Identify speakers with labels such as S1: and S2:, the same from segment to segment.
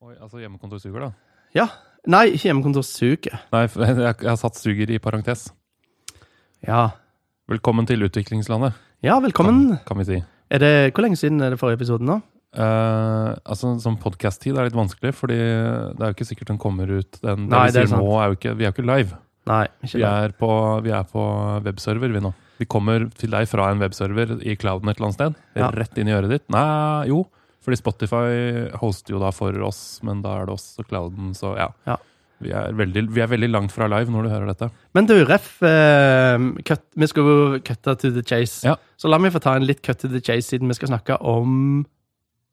S1: Oi, altså hjemmekontorsuger, da?
S2: Ja. Nei, ikke hjemmekontor suger.
S1: Nei, for jeg, jeg har satt suger i parentes.
S2: Ja.
S1: Velkommen til utviklingslandet,
S2: ja, velkommen.
S1: kan vi si.
S2: Er det, hvor lenge siden er det forrige episoden nå?
S1: Eh, altså, Sånn podcast-tid er litt vanskelig, fordi det er jo ikke sikkert den kommer ut. Den,
S2: Nei,
S1: det
S2: det er
S1: vi sier nå, er jo ikke, vi er jo ikke live.
S2: Nei, ikke
S1: Vi
S2: det.
S1: er, på, vi er på webserver, vi nå. Vi kommer til deg fra en webserver i clouden et eller annet sted.
S2: Ja.
S1: Rett inn i øret ditt. Nei, jo. Fordi Spotify hoster jo da for oss, men da er det oss og clouden, så ja.
S2: Ja.
S1: Vi, er veldig, vi er veldig langt fra live når du hører dette.
S2: Men du, Ref, eh, cut, vi skal jo cutte to the chase.
S1: Ja.
S2: Så la meg få ta en litt cut to the chase, siden vi skal snakke om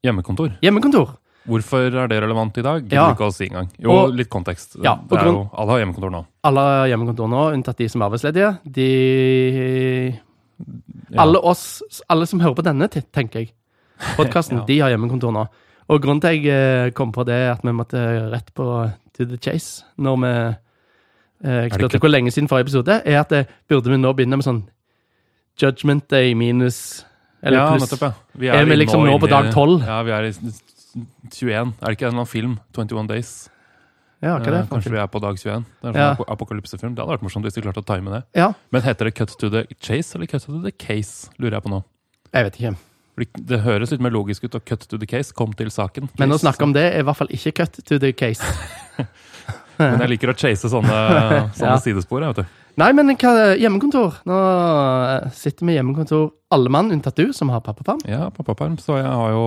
S1: Hjemmekontor.
S2: hjemmekontor.
S1: Hvorfor er det relevant i dag? Gidder
S2: Ja.
S1: du ikke å si engang. Jo,
S2: Og-
S1: litt kontekst.
S2: Ja, og
S1: det er jo,
S2: grunn-
S1: alle har hjemmekontor nå.
S2: Alle har hjemmekontor nå, unntatt de som er arbeidsledige. De
S1: Ja.
S2: Alle oss, alle som hører på denne, te- tenker jeg, podkasten,
S1: Ja.
S2: de har hjemmekontor nå. Og grunnen til jeg eh, kom på det, er at vi måtte rett på to the chase når vi eh,
S1: det
S2: spurte
S1: ikke-
S2: hvor lenge siden forrige episode, er at eh, burde vi nå begynne med sånn judgment day minus eller
S1: ja,
S2: pluss?
S1: nettopp, ja. Vi
S2: Er vi
S1: i-
S2: liksom nå på
S1: inne i-
S2: dag 12?
S1: Ja, vi er i s- s- 21. Er det ikke en eller annen film? 21 Days.
S2: Ja, hva er det
S1: Eh,
S2: for en
S1: Kanskje vi
S2: film?
S1: er på dag 21. Det er en
S2: Ja.
S1: sånn apo- apokalypsefilm. Det hadde vært morsomt hvis de klarte å time det.
S2: Ja,
S1: Men heter det Cut to the Chase eller Cut to the Case, lurer jeg på nå.
S2: jeg vet ikke.
S1: Fordi det høres litt mer logisk ut å Cut to the Case, kom til saken.
S2: Men å
S1: Case,
S2: snakke om det er i hvert fall ikke cut to the case.
S1: Men jeg liker å chase sånne, sånne
S2: Ja.
S1: sidespor, jeg, vet du.
S2: Nei, men hva, hjemmekontor. Nå eh, sitter vi i hjemmekontor, alle mann unntatt du, som har pappaperm.
S1: Ja, pappaperm. Så jeg har jo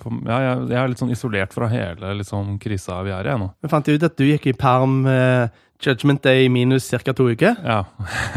S1: på- ja, jeg, jeg er litt sånn isolert fra hele liksom, krisa vi er i, jeg nå.
S2: Vi fant ut at du gikk i perm eh, Judgment Day minus ca. to uker.
S1: Ja,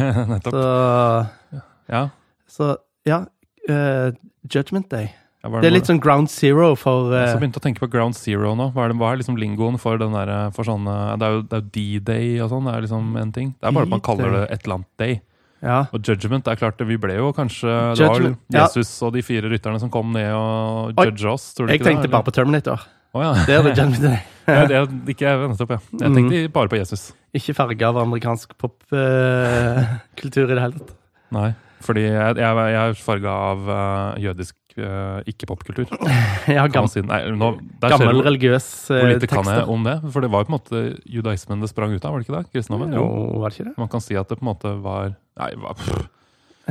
S1: nettopp.
S2: Så,
S1: Ja.
S2: så ja. eh, judgment Day.
S1: Ja, hva
S2: Det er
S1: nå?
S2: litt sånn ground zero for
S1: Jeg
S2: eh,
S1: så begynte jeg å tenke på Ground Zero nå. Hva er, det, hva er liksom lingoen for den der, for sånne, Det er jo det er jo D-Day og sånn. Det er liksom en ting. Det er bare at man kaller det et eller annet day.
S2: ja.
S1: Og Judgment, det er klart, vi ble jo kanskje Det var vel
S2: Judgment, ja.
S1: Jesus og de fire rytterne som kom ned og
S2: Oi,
S1: judge oss. Tror du
S2: Jeg
S1: ikke
S2: tenkte
S1: det?
S2: bare på Terminator.
S1: Å ja.
S2: Det er Mm. det Judgment Day.
S1: Ja, det er ikke jeg, nettopp, ja. Jeg tenkte bare på Jesus.
S2: Ikke farga av amerikansk popkultur i det hele tatt.
S1: Nei. Fordi jeg, jeg, jeg er farga av eh, jødisk eh, ikke-popkultur. kan
S2: Jeg har
S1: man
S2: gam,
S1: si. Nei, nå, der ser
S2: gammel
S1: du
S2: religiøs eh,
S1: hvor lite kan jeg
S2: tekster.
S1: om det. For det var jo på en måte judaismen det sprang ut av, var det ikke det? Kristendommen?
S2: Jo, var det ikke det?
S1: Man kan si at det på en måte var Nei, hva- pff,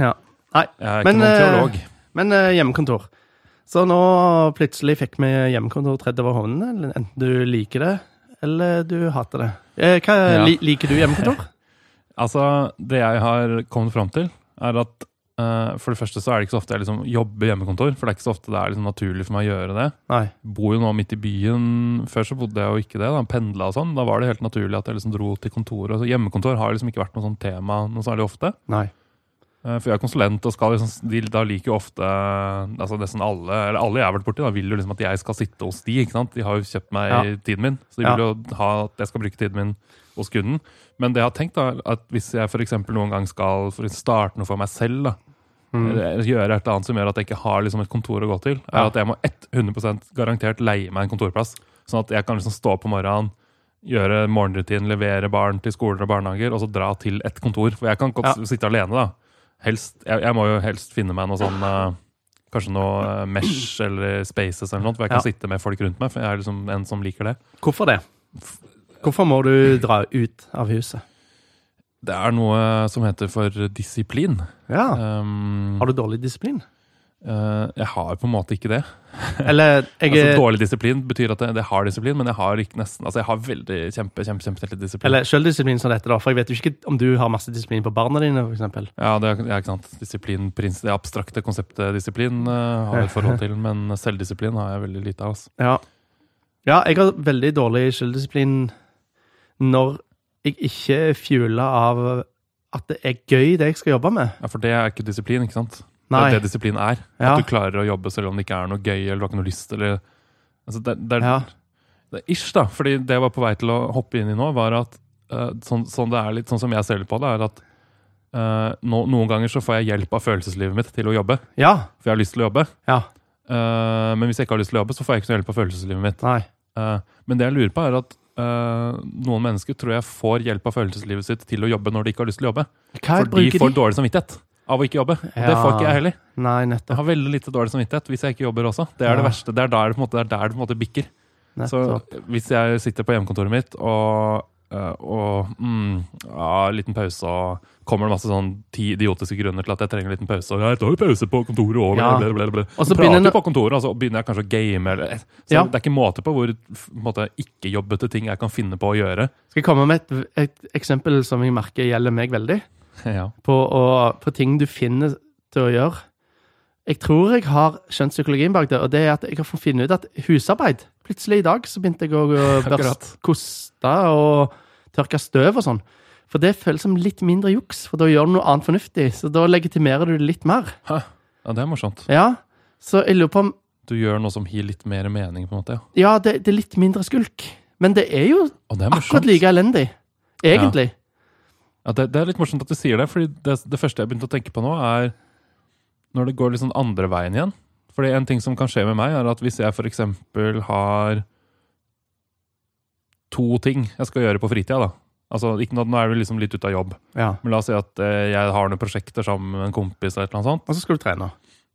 S2: Ja. Nei.
S1: jeg er ikke
S2: Men,
S1: noen
S2: eh,
S1: teolog.
S2: Men eh, hjemmekontor. Så nå plutselig fikk vi hjemmekontor tredd over hovnene. eller Enten du liker det, eller du hater det. Eh, hva,
S1: Ja.
S2: li, liker du hjemmekontor?
S1: Altså, det jeg har kommet fram til, er at eh, for det første så er det ikke så ofte jeg liksom jobber hjemmekontor, for det er ikke så ofte det er liksom naturlig for meg å gjøre det.
S2: Nei.
S1: Bor jo nå midt i byen. Før så bodde jeg jo ikke det, da pendla og sånn. Da var det helt naturlig at jeg liksom dro til kontoret. Så hjemmekontor har liksom ikke vært noe sånn tema noe særlig ofte.
S2: Nei.
S1: Eh, For jeg er konsulent, og skal liksom, de da liker jo ofte altså nesten alle eller alle jeg har vært borti, da vil jo liksom at jeg skal sitte hos de. ikke sant? De har jo kjøpt meg
S2: Ja.
S1: tiden min, så de vil jo ha at jeg skal bruke tiden min hos kunden. Men det jeg har tenkt, da, at hvis jeg f.eks. noen gang skal for å starte noe for meg selv, da, eller Eh, gjøre et eller annet som gjør at jeg ikke har liksom et kontor å gå til, er
S2: Mm. Ja.
S1: at jeg må 100 garantert leie meg en kontorplass. Sånn at jeg kan liksom stå opp om morgenen, gjøre morgenrutinen, levere barn til skoler og barnehager, og så dra til et kontor. For jeg kan godt
S2: Ja.
S1: s- sitte alene, da. Helst, jeg, jeg må jo helst finne meg noe sånn eh, Kanskje noe eh, Mesh eller Spaces eller noe, for jeg kan
S2: Ja.
S1: sitte med folk rundt meg. For jeg er liksom en som liker det.
S2: Hvorfor det? Hvorfor må du dra ut av huset?
S1: Det er noe som heter for disiplin.
S2: Ja.
S1: Um,
S2: Har du dårlig disiplin?
S1: eh, jeg har på en måte ikke det.
S2: Eller jeg
S1: Altså,
S2: eh, er
S1: dårlig disiplin betyr at jeg, det har disiplin, men jeg har ikke nesten Altså, jeg har veldig kjempe, kjempe, kjempe lite disiplin.
S2: eller selvdisiplin som dette, da. For jeg vet jo ikke om du har masse disiplin på barna dine, for eksempel.
S1: ja, det er, ja, ikke sant. Disiplinprins, det abstrakte konseptet disiplin eh, har jeg et forhold til, men selvdisiplin har jeg veldig lite av. Altså.
S2: Ja. ja, jeg har veldig dårlig selvdisiplin når jeg ikke er fuela av at det er gøy, det jeg skal jobbe med.
S1: Ja, for det er ikke disiplin, ikke sant?
S2: Nei.
S1: Det er det disiplin er.
S2: Ja.
S1: At du klarer å jobbe selv om det ikke er noe gøy, eller du har ikke noe lyst, eller altså, det, det, er,
S2: Ja.
S1: det er ish, da. Fordi det jeg var på vei til å hoppe inn i nå, var at eh, sånn, sånn det er litt sånn som jeg ser det på det, er at eh, nå- noen ganger så får jeg hjelp av følelseslivet mitt til å jobbe,
S2: Ja.
S1: for jeg har lyst til å jobbe.
S2: ja.
S1: Eh, men hvis jeg ikke har lyst til å jobbe, så får jeg ikke noe hjelp av følelseslivet mitt.
S2: Nei.
S1: Eh, men det jeg lurer på, er at eh, noen mennesker tror jeg får hjelp av følelseslivet sitt til å jobbe når de ikke har lyst til å jobbe.
S2: Hva
S1: For de får dårlig samvittighet av å ikke jobbe. Og det
S2: Ja.
S1: får ikke jeg heller.
S2: Nei,
S1: Jeg
S2: nettopp.
S1: har veldig lite dårlig samvittighet hvis jeg ikke jobber også. Det er
S2: Ja.
S1: det verste. Det er der det, på en måte, det, er der det på en måte bikker. Så hvis jeg sitter på hjemmekontoret mitt og, eh, og mm, ja, liten pause og kommer det masse sånn ti idiotiske grunner til at jeg trenger en liten pause og jeg tar jo pause på kontoret og
S2: Ja.
S1: ble, ble, ble, ble.
S2: Og så
S1: Så prater
S2: begynner en-
S1: jeg på kontoret, altså, og så begynner jeg kanskje å game. Eller, så
S2: Ja.
S1: Det er ikke måte på hvor f- på en måte, ikke-jobbete ting jeg kan finne på å gjøre.
S2: Skal jeg komme med et, et eksempel som jeg merker gjelder meg veldig?
S1: Ja.
S2: På, å, på ting du finner til å gjøre. Jeg tror jeg har skjønt psykologien bak det, og det er at jeg har fått finne ut at husarbeid Plutselig i dag så begynte jeg å gå-
S1: Akkurat.
S2: børst- koste og tørke støv og sånn. For det føles som litt mindre juks, for da gjør du noe annet fornuftig. Så da legitimerer du det litt mer.
S1: Hæ? ja, det er morsomt.
S2: Ja, Så jeg lurer på om
S1: Du gjør noe som gir litt mer mening, på en måte. Ja.
S2: Ja, det, det er litt mindre skulk. Men det er jo
S1: Og det er
S2: akkurat
S1: morsomt.
S2: like elendig. Egentlig.
S1: Ja, det, det er litt morsomt at du sier det, fordi det, det første jeg begynte å tenke på nå, er når det går litt sånn andre veien igjen. Fordi en ting som kan skje med meg, er at hvis jeg for eksempel har to ting jeg skal gjøre på fritida, da. Altså, ikke, nå nå er du liksom litt ute av jobb,
S2: Ja.
S1: men la oss si at eh, jeg har noen prosjekter sammen med en kompis, eller et eller annet sånt.
S2: Og så skal du trene.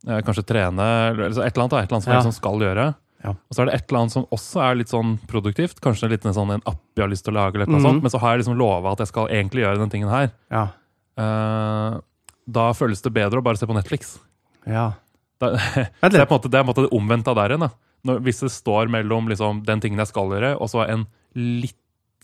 S1: Eh, kanskje trene, eller altså et eller annet, da, et eller annet som
S2: Ja.
S1: jeg liksom skal gjøre.
S2: Ja.
S1: Og så er det et eller annet som også er litt sånn produktivt, kanskje litt en, sånn, en app jeg har lyst til å lage, eller et eller annet
S2: Mhm.
S1: sånt, men så har jeg liksom lova at jeg skal egentlig gjøre den tingen her.
S2: Ja.
S1: Eh, da føles det bedre å bare se på Netflix.
S2: ja.
S1: Da, så
S2: Vent
S1: det er
S2: litt.
S1: på en måte det, er på en måte det omvendte av der igjen. da. Når, hvis det står mellom liksom, den tingen jeg skal gjøre, og så en litt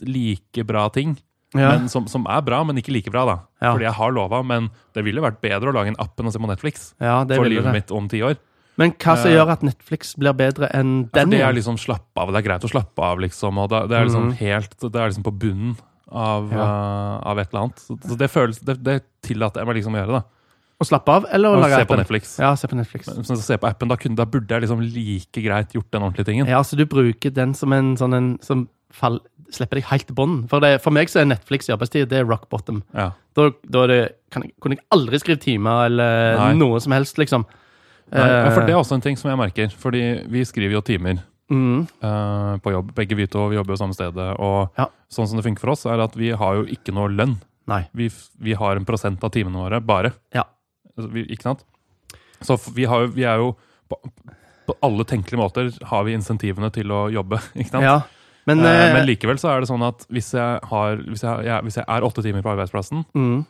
S1: like bra ting,
S2: Ja.
S1: men som, som er bra, men ikke like bra, da.
S2: Ja.
S1: Fordi jeg har lova, men det ville vært bedre å lage en app enn å se på Netflix.
S2: ja, det
S1: For
S2: vil
S1: livet
S2: det.
S1: mitt om ti år.
S2: Men hva som
S1: Eh,
S2: gjør at Netflix blir bedre enn
S1: Ja, for
S2: den?
S1: det er
S2: igjen?
S1: liksom slapp av, det er greit å slappe av, liksom. Og det, det er liksom
S2: Mhm.
S1: helt Det er liksom på bunnen av, eh, av et eller annet. Så, så det føles Det, det tillater jeg meg liksom å gjøre, da.
S2: Å slappe av eller å
S1: Å
S2: lage
S1: se på
S2: appen?
S1: Netflix.
S2: Ja, se på Netflix.
S1: Men hvis jeg ser på appen, da, kunne, da burde jeg liksom like greit gjort den ordentlige tingen.
S2: Ja, så du bruker den som en sånn en som fall, slipper deg helt til bånn. For, det- for meg så er Netflix i arbeidstid det er rock bottom.
S1: Ja.
S2: Da, da er det, kan, jeg- kunne jeg aldri skrive timer eller
S1: Nei.
S2: noe som helst, liksom.
S1: Nei, ja, for det
S2: Eh,
S1: er også en ting som jeg merker. Fordi vi skriver jo timer
S2: mm,
S1: eh, på jobb. Begge vi to vi jobber jo samme stedet. Og
S2: Ja.
S1: sånn som det funker for oss, er at vi har jo ikke noe lønn.
S2: Nei.
S1: Vi, f- vi har en prosent av timene våre, bare.
S2: Ja.
S1: Altså, vi, ikke sant? Så f- vi, har, jo- vi er jo på, på alle tenkelige måter har vi insentivene til å jobbe. ikke sant?
S2: Ja. Men,
S1: Eh,
S2: eh,
S1: Men likevel så er det sånn at hvis jeg, har, hvis, jeg, jeg, hvis jeg er åtte timer på arbeidsplassen
S2: mm,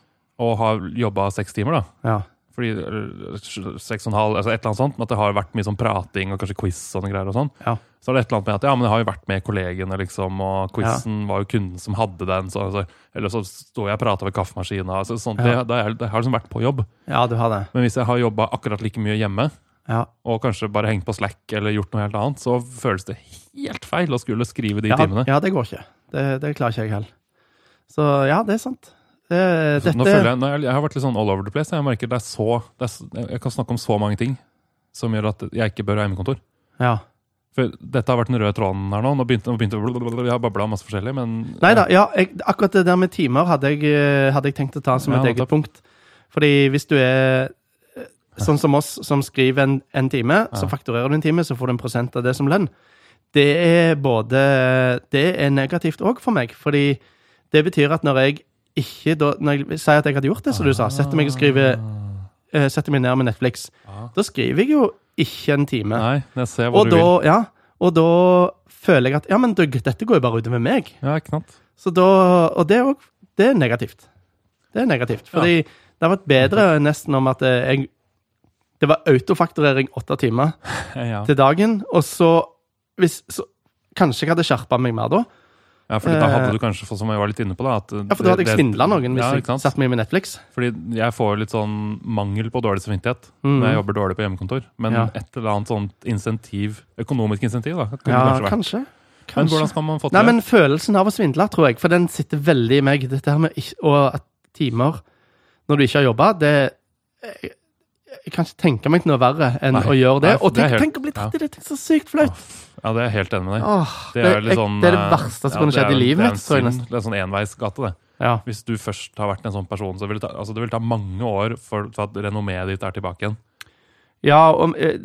S1: og har jobba seks timer, da,
S2: ja.
S1: fordi eller, s- seks og en halv, altså et eller annet sånt, men at det har vært mye sånn prating og kanskje quiz og sånne greier. og sånn,
S2: Ja.
S1: Så er det et eller annet med at ja, men jeg har jo vært med kollegene, liksom, og quizen var jo kunden som hadde den. så, så, Eller så sto jeg og prata ved kaffemaskina. Altså, sånn,
S2: Ja.
S1: det, det, er- det har liksom vært på jobb.
S2: ja, du har det.
S1: Men hvis jeg har jobba akkurat like mye hjemme,
S2: Ja.
S1: og kanskje bare hengt på Slack eller gjort noe helt annet, så føles det helt feil å skulle skrive de
S2: ja,
S1: timene.
S2: Ja, det går ikke. Det, det klarer ikke jeg heller. Så ja, det er sant. Det,
S1: Så
S2: dette,
S1: Nå føler jeg, nå, jeg har vært litt sånn all over the place. Jeg merker det er så, det er, så- jeg kan snakke om så mange ting som gjør at jeg ikke bør ha hjemmekontor.
S2: Ja.
S1: For dette har vært den røde tråden her nå. Nå begynte, nå begynte Vi har babla om masse forskjellig, men
S2: Nei da, ja, jeg, akkurat det der med timer hadde jeg, eh, hadde jeg tenkt å ta som
S1: Ja,
S2: et eget
S1: nettopp.
S2: punkt. Fordi hvis du er eh, sånn som oss, som skriver en, en time, så
S1: Ja.
S2: fakturerer du en time, så får du en prosent av det som lønn. Det er både Det er negativt òg for meg, fordi det betyr at når jeg ikke da, Når jeg sier at jeg hadde gjort det, som du
S1: Ah.
S2: sa, setter meg, og skriver, eh, setter meg ned med Netflix,
S1: Ja.
S2: da skriver jeg jo ikke en time.
S1: Nei, jeg ser hva
S2: Og
S1: du
S2: da,
S1: vil.
S2: ja, og da føler jeg at ja, men du, dette går jo bare utover meg.
S1: Ja, ikke sant?
S2: Så da, og det er, også, det er negativt. Det er negativt. Fordi det har vært bedre nesten om at jeg Det var autofakturering åtte timer
S1: Ja.
S2: til dagen, og så, hvis, så Kanskje jeg hadde skjerpa meg mer da.
S1: ja, fordi da hadde
S2: Eh,
S1: du kanskje fått, som jeg var litt inne på, da at
S2: Ja, For da hadde jeg
S1: det-
S2: svindla noen hvis
S1: ja, ikke
S2: jeg
S1: sant?
S2: satt meg med Netflix.
S1: Fordi jeg får litt sånn mangel på dårlig samvittighet
S2: Mm.
S1: når jeg jobber dårlig på hjemmekontor. Men
S2: Ja.
S1: et eller annet sånt insentiv, økonomisk insentiv, da. Kunne
S2: Ja,
S1: det kanskje vært.
S2: kanskje.
S1: Men
S2: kanskje.
S1: hvordan skal man få til
S2: Nei,
S1: det?
S2: men følelsen av å svindle, tror jeg, for den sitter veldig i meg. Dette her med ikke, og at timer når du ikke har jobba, det jeg, jeg kan ikke tenke meg noe verre enn
S1: Nei.
S2: å gjøre det.
S1: Nei, for
S2: og
S1: det er
S2: tenk,
S1: helt-
S2: tenk å bli tatt i det! Tenk så sykt flaut!
S1: Ja, det er jeg helt enig med deg.
S2: Åh,
S1: Det er,
S2: det,
S1: litt
S2: jeg-
S1: sånn,
S2: det er det
S1: eh,
S2: verste som
S1: ja,
S2: kunne
S1: det er
S2: skjedd i
S1: jo-
S2: livet mitt.
S1: Det
S2: tror
S1: er
S2: jeg
S1: en
S2: nesten.
S1: synd. Det er en sånn enveisgate, det.
S2: Ja.
S1: Hvis du først har vært en sånn person, så vil det ta, altså, det vil ta mange år for, for at renommeet ditt er tilbake igjen.
S2: Ja, om, eh,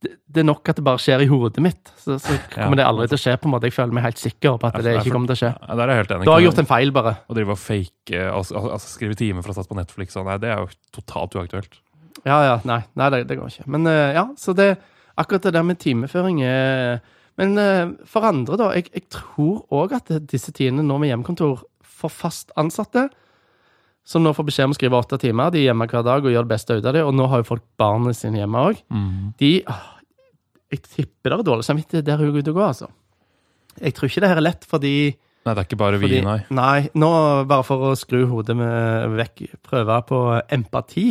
S2: det, det er nok at det bare skjer i hodet mitt. Så, så
S1: Ja.
S2: kommer det aldri til å skje. på en måte. Jeg føler meg helt sikker på at
S1: Ja,
S2: det
S1: for-
S2: ikke kommer til å skje.
S1: Ja, der er jeg helt enig.
S2: Da har jeg gjort en feil, bare.
S1: Å drive og fake, eh, altså, al- altså skrive timer for å satse på Netflix, og nei, det er jo totalt uaktuelt.
S2: Ja, ja, nei, nei det, det går ikke. Men eh, ja, så det, akkurat det der med timeføring er Men eh, for andre, da. Jeg, jeg tror òg at disse tidene nå med hjemmekontor for fast ansatte, som nå får beskjed om å skrive åtte timer, de er hjemme hver dag og gjør det beste ut av det, og nå har jo folk barna sine hjemme òg,
S1: Mm.
S2: de åh, Jeg tipper det er dårlig samvittighet der hun er ute og går, altså. Jeg tror ikke det her er lett, fordi
S1: Nei, det er ikke bare
S2: fordi,
S1: vi, nei.
S2: nå bare for å skru hodet med, vekk, prøve på empati.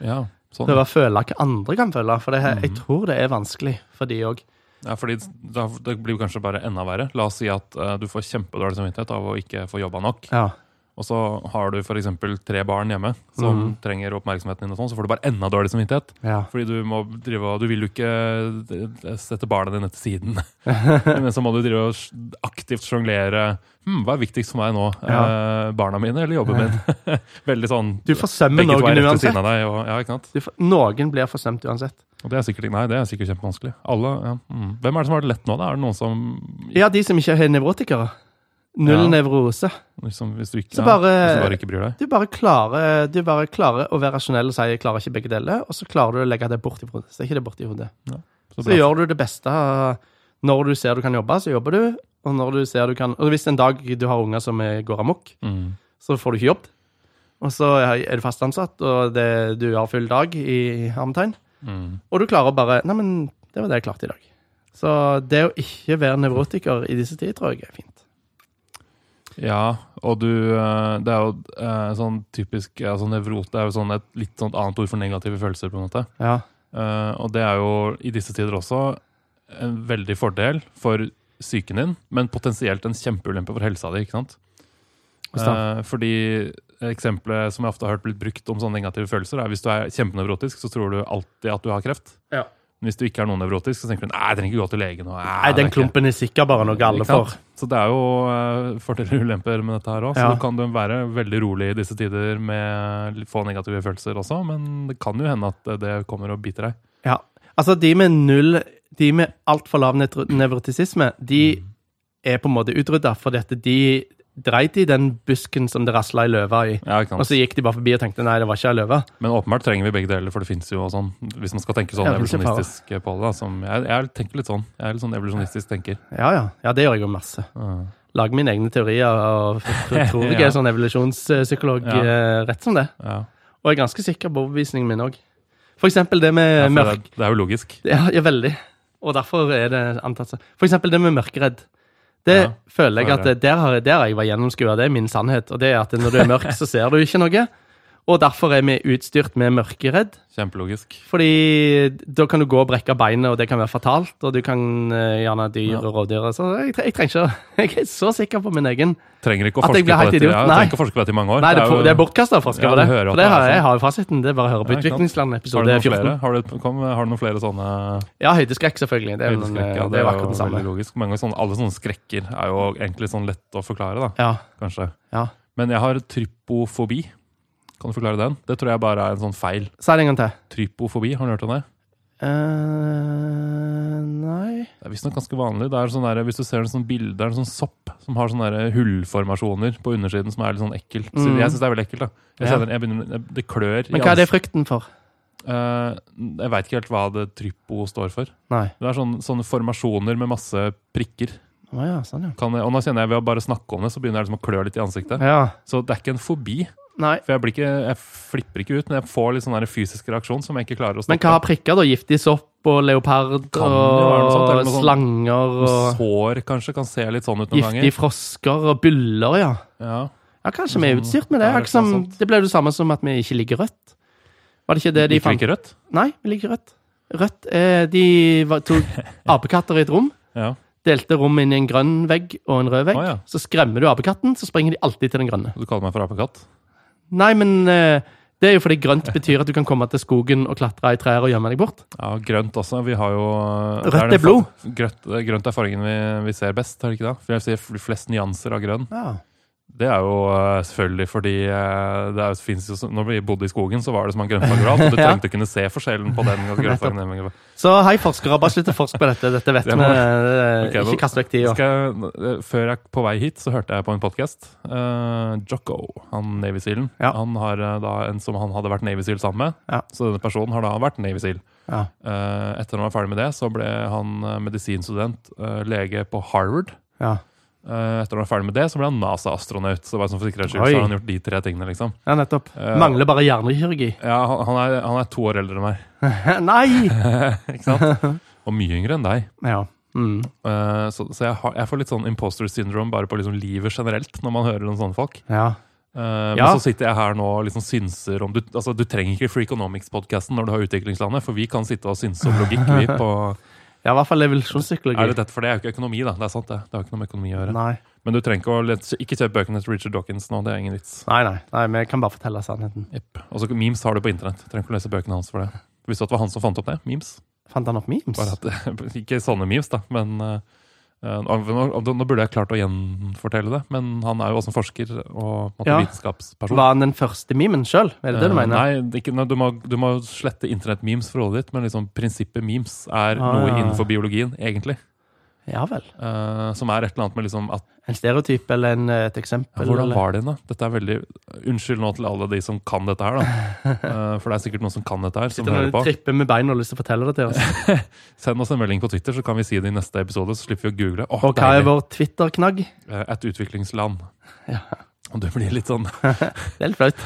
S1: Ja, sånn.
S2: Prøve å føle hva andre kan føle. For det her, jeg
S1: Mhm.
S2: tror det er vanskelig for de òg.
S1: Ja, fordi da, Det blir jo kanskje bare enda verre. La oss si at eh, du får kjempedårlig samvittighet av å ikke få jobba nok.
S2: Ja.
S1: Og så har du f.eks. tre barn hjemme som trenger oppmerksomheten din, og sånn, så får du bare enda dårlig samvittighet.
S2: Ja.
S1: Fordi du må drive og Du vil jo ikke eh, sette barna dine til siden. Men så må du drive og s- aktivt sjonglere. Hm, hva er viktigst for meg nå? Eh, barna mine eller jobben min? Veldig sånn
S2: Du forsømmer
S1: Begge to er
S2: noen
S1: rett ved siden
S2: uansett.
S1: av deg. Og, ja, ikke sant?
S2: Du for, noen blir forsømt uansett.
S1: Og det er sikkert, nei, det er sikkert kjempevanskelig. Alle, ja. mm. Hvem er det som har det lett nå? da? Er det noen som
S2: Ja, de som ikke er nevrotikere. Null
S1: Ja.
S2: nevrose.
S1: liksom, hvis, du ikke,
S2: Så bare-
S1: ja, hvis du bare ikke bryr deg?
S2: Du bare, klarer, du bare klarer å være rasjonell og si 'jeg klarer ikke begge deler', og så klarer du å legge det bort i hodet. Så er ikke det borti hodet.
S1: Så
S2: Så gjør du det beste når du ser du kan jobbe, så jobber du. Og når du ser du kan Og hvis en dag du har unger som eh, går amok,
S1: Mm.
S2: så får du ikke jobb. Og så er du fast ansatt, og det, du har full dag i hermetegn.
S1: Mm.
S2: Og du klarer bare Nei, men det var det jeg klarte i dag. Så det å ikke være nevrotiker i disse tider, tror jeg er fint.
S1: Ja, og du eh, Det er jo eh, sånn typisk altså nevrot Det er jo sånn et litt sånn annet ord for negative følelser, på en måte.
S2: Ja.
S1: Eh, og det er jo i disse tider også en veldig fordel for psyken din, men potensielt en kjempeulempe for helsa di. ikke sant? Eh, fordi eksempelet som jeg ofte har hørt blitt brukt om sånne negative følelser, er hvis du er kjempenevrotisk, så tror du alltid at du har kreft.
S2: Ja.
S1: Men hvis du ikke er noe nevrotisk, så tenker du nei, jeg trenger ikke gå til legen. Og,
S2: Nei, den klumpen er sikkert bare noe alle
S1: Ikke sant?
S2: får.
S1: Så det er jo eh, fordeler og ulemper med dette her òg.
S2: Ja.
S1: Så du kan du være veldig rolig i disse tider med litt få negative følelser også, men det kan jo hende at det kommer og biter deg.
S2: Ja. Altså, de med null De med altfor lav netro- nevrotisisme, de er på en måte utrydda, fordi at de dreit i den busken som det rasla ei løve i.
S1: Ja, ikke
S2: Og
S1: sant?
S2: så gikk de bare forbi og tenkte nei, det var ikke ei løve.
S1: Men åpenbart trenger vi begge deler, for det fins jo og sånn, hvis man skal tenke sånn
S2: Ja, det finnes jo
S1: evolusjonistisk på det. Da, som jeg, jeg tenker litt sånn. Jeg er litt sånn evolusjonistisk tenker.
S2: Ja, ja. Ja, det gjør jeg jo masse.
S1: Ja.
S2: Lager mine egne teorier og tror jeg er sånn evolusjonspsykolog
S1: Ja.
S2: eh, rett som det.
S1: Ja.
S2: Og jeg er ganske sikker på overbevisningen min òg. For eksempel det med
S1: Ja, for
S2: mørk...
S1: det, er- det er jo logisk.
S2: Ja, ja, veldig. Og derfor er det antatt seg. For eksempel det med mørkeredd. Det
S1: Ja,
S2: føler jeg
S1: det er
S2: at det- der har jeg, der har jeg vært gjennomskua. Det er min sannhet. Og det er at når du er mørk, så ser du ikke noe. Og derfor er vi utstyrt med mørkeredd.
S1: Kjempelogisk.
S2: Fordi da kan du gå og brekke beinet, og det kan være fatalt. Og du kan eh, gjerne ha dyr
S1: Ja.
S2: og rovdyr. og Så jeg, tre- jeg trenger ikke Jeg er så sikker på min egen.
S1: Trenger ikke å
S2: At
S1: forske
S2: jeg blir
S1: på
S2: helt
S1: dette,
S2: idiot.
S1: ja,
S2: Nei.
S1: trenger ikke å forske på dette i mange år.
S2: Nei, det er,
S1: jo-
S2: for- det er bortkasta forsker
S1: Ja,
S2: på det.
S1: du hører at det
S2: For det
S1: er
S2: har, jeg
S1: sånn.
S2: har jo fasiten. Det er bare å
S1: Ja,
S2: høre på
S1: ikke sant.
S2: Utviklingsland
S1: Har du
S2: episode
S1: noen
S2: 14.
S1: flere, har du, kom, har du noen flere sånne
S2: Ja, høydeskrekk, selvfølgelig. Det er, jo noen,
S1: Høydeskrekk,
S2: eh,
S1: ja,
S2: det er jo akkurat den
S1: veldig
S2: samme.
S1: logisk. Mange sånne, alle sånne skrekker er jo egentlig sånn lett å forklare, da,
S2: Ja,
S1: kanskje.
S2: ja.
S1: Men jeg har trypofobi. Kan du forklare den? Det tror jeg bare er en sånn feil.
S2: Si det en gang til.
S1: Trypofobi, har du hørt om det?
S2: eh nei
S1: Det er visstnok ganske vanlig. Det er sånn der, hvis du ser en sånn bilde, det er en sånn sopp som har sånne der hullformasjoner på undersiden som er litt sånn ekkel. Så
S2: Mm.
S1: Jeg syns det er veldig ekkelt. da. Jeg
S2: Ja.
S1: kjenner, jeg begynner, jeg- det altså- klør
S2: Men hva er det
S1: ansiktet.
S2: frykten for?
S1: Eh, jeg veit ikke helt hva det trypo står for. Det
S2: Nei.
S1: er sånn, sånne formasjoner med masse prikker.
S2: Å ja, sånn, ja.
S1: Kan jeg, og nå kjenner jeg ved å bare snakke om det, så begynner jeg liksom å klø litt i ansiktet.
S2: Ja.
S1: Så det er ikke en fobi.
S2: Nei.
S1: For jeg, blir ikke, jeg flipper ikke ut, men jeg får litt sånn der fysisk reaksjon som jeg ikke klarer å
S2: Men
S1: stoppe.
S2: hva har prikker, da? Giftig sopp og leopard
S1: Kan jo være noe sånt, eller
S2: og
S1: noe sånt.
S2: slanger og
S1: Sår kanskje kan se litt sånn ut noen
S2: giftige frosker og byller, ja.
S1: ganger. Ja.
S2: Ja, kanskje vi er
S1: Sånn,
S2: utstyrt med det.
S1: ja, det er
S2: Akkurat som,
S1: noe sånt.
S2: det ble jo det samme som at vi ikke liker rødt. Var det ikke det de
S1: Liker
S2: fant?
S1: ikke rødt?
S2: Nei, vi liker rødt. Rødt eh, De var, tok apekatter i et rom,
S1: Ja.
S2: delte rommet inn i en grønn vegg og en rød vegg.
S1: Å, ja.
S2: Så skremmer du apekatten, så springer de alltid til den grønne.
S1: Du kaller meg for apekatt?
S2: Nei, men eh, det er jo fordi grønt betyr at du kan komme til skogen og klatre i trær og gjemme deg bort.
S1: Ja, grønt også. Vi har jo eh,
S2: Rødt
S1: det
S2: er
S1: den
S2: blod.
S1: fa- Grønt, det er grønt er fargen vi, vi ser best, er det ikke det? For jeg sier fl- flest nyanser av grønn. Det er jo eh, selvfølgelig fordi eh, det er, jo- finnes jo så, Når vi bodde i skogen, så var det som en grønnfarge overalt, og du
S2: Ja.
S1: trengte å kunne se forskjellen på den og grønnfargen. den grønnfargen.
S2: Så hei, forskere, bare slutt å forske på dette. Dette vet
S1: Det
S2: vi.
S1: må-
S2: eh,
S1: Ok, nå-
S2: Ikke kast vekk tida.
S1: Skal jeg, eh, før jeg på vei hit, så hørte jeg på en podkast. Jocko, han Navy Sealen,
S2: Ja.
S1: han har eh, da en som han hadde vært Navy Seal sammen med.
S2: Ja.
S1: Så denne personen har da vært Navy Seal.
S2: Ja.
S1: Eh, etter han var ferdig med det, så ble han eh, medisinstudent, eh, lege på Harvard.
S2: ja.
S1: Eh, etter han var ferdig med det, så ble han NASA-astronaut. Så bare sånn for sikkerhets skyld,
S2: Oi.
S1: så har han gjort de tre tingene, liksom.
S2: ja nettopp.
S1: Eh,
S2: Mangler bare hjernekirurgi.
S1: Ja, han, han, er, han er to år eldre enn meg,
S2: Nei!
S1: ikke sant? Og mye yngre enn deg.
S2: Ja. Mm.
S1: Eh, så så jeg, har, jeg får litt sånn imposter syndrome bare på liksom livet generelt, når man hører om sånne folk.
S2: ja.
S1: Eh, Men
S2: Ja.
S1: så sitter jeg her nå og liksom synser om du, altså, du trenger ikke Freakonomics-podkasten når du har Utviklingslandet, for vi kan sitte og synse om logikk. Vi på,
S2: Ja, i hvert fall
S1: er det
S2: evolusjonspsykologi.
S1: dette, for det er jo ikke økonomi, da. Det er sant, det. Det har ikke noe med økonomi å gjøre.
S2: Nei.
S1: Men du trenger ikke å let, ikke kjøpe bøkene til Richard Dawkins nå. Det er ingen vits.
S2: Nei, nei, nei, vi kan bare fortelle sannheten.
S1: Jepp. Og så memes har du på internett. Du trenger ikke å lese bøkene hans for det. Visste du at det var han som fant opp det? Memes?
S2: Fant han opp memes?
S1: Bare at, ikke sånne memes, da, men eh, eh, nå, nå burde jeg klart å gjenfortelle det, men han er jo også en forsker og på en måte,
S2: Ja.
S1: vitenskapsperson.
S2: Var han den første memen sjøl? Er det det du
S1: Eh,
S2: mener?
S1: Nei, det er ikke, nei du, må, du må slette internett-memes for hodet ditt, men liksom prinsippet memes er
S2: Ah,
S1: noe
S2: ja.
S1: innenfor biologien, egentlig.
S2: Ja vel.
S1: eh, som er et eller annet med liksom at
S2: En stereotyp eller en, eh, et eksempel?
S1: Hvordan
S2: eller-
S1: var det igjen, da? Dette er veldig Unnskyld nå til alle de som kan dette her, da. Eh, for det er sikkert noen som kan dette her, som
S2: Sitter
S1: hører
S2: noen og
S1: på.
S2: tripper med beina og har lyst til å fortelle det til oss.
S1: Send oss en melding på Twitter, så kan vi si det i neste episode. Så slipper vi å google. Åh,
S2: Og hva er
S1: deilig.
S2: vår Twitter-knagg?
S1: Eh, Et utviklingsland.
S2: Ja.
S1: Og det blir litt sånn
S2: Det er litt flaut.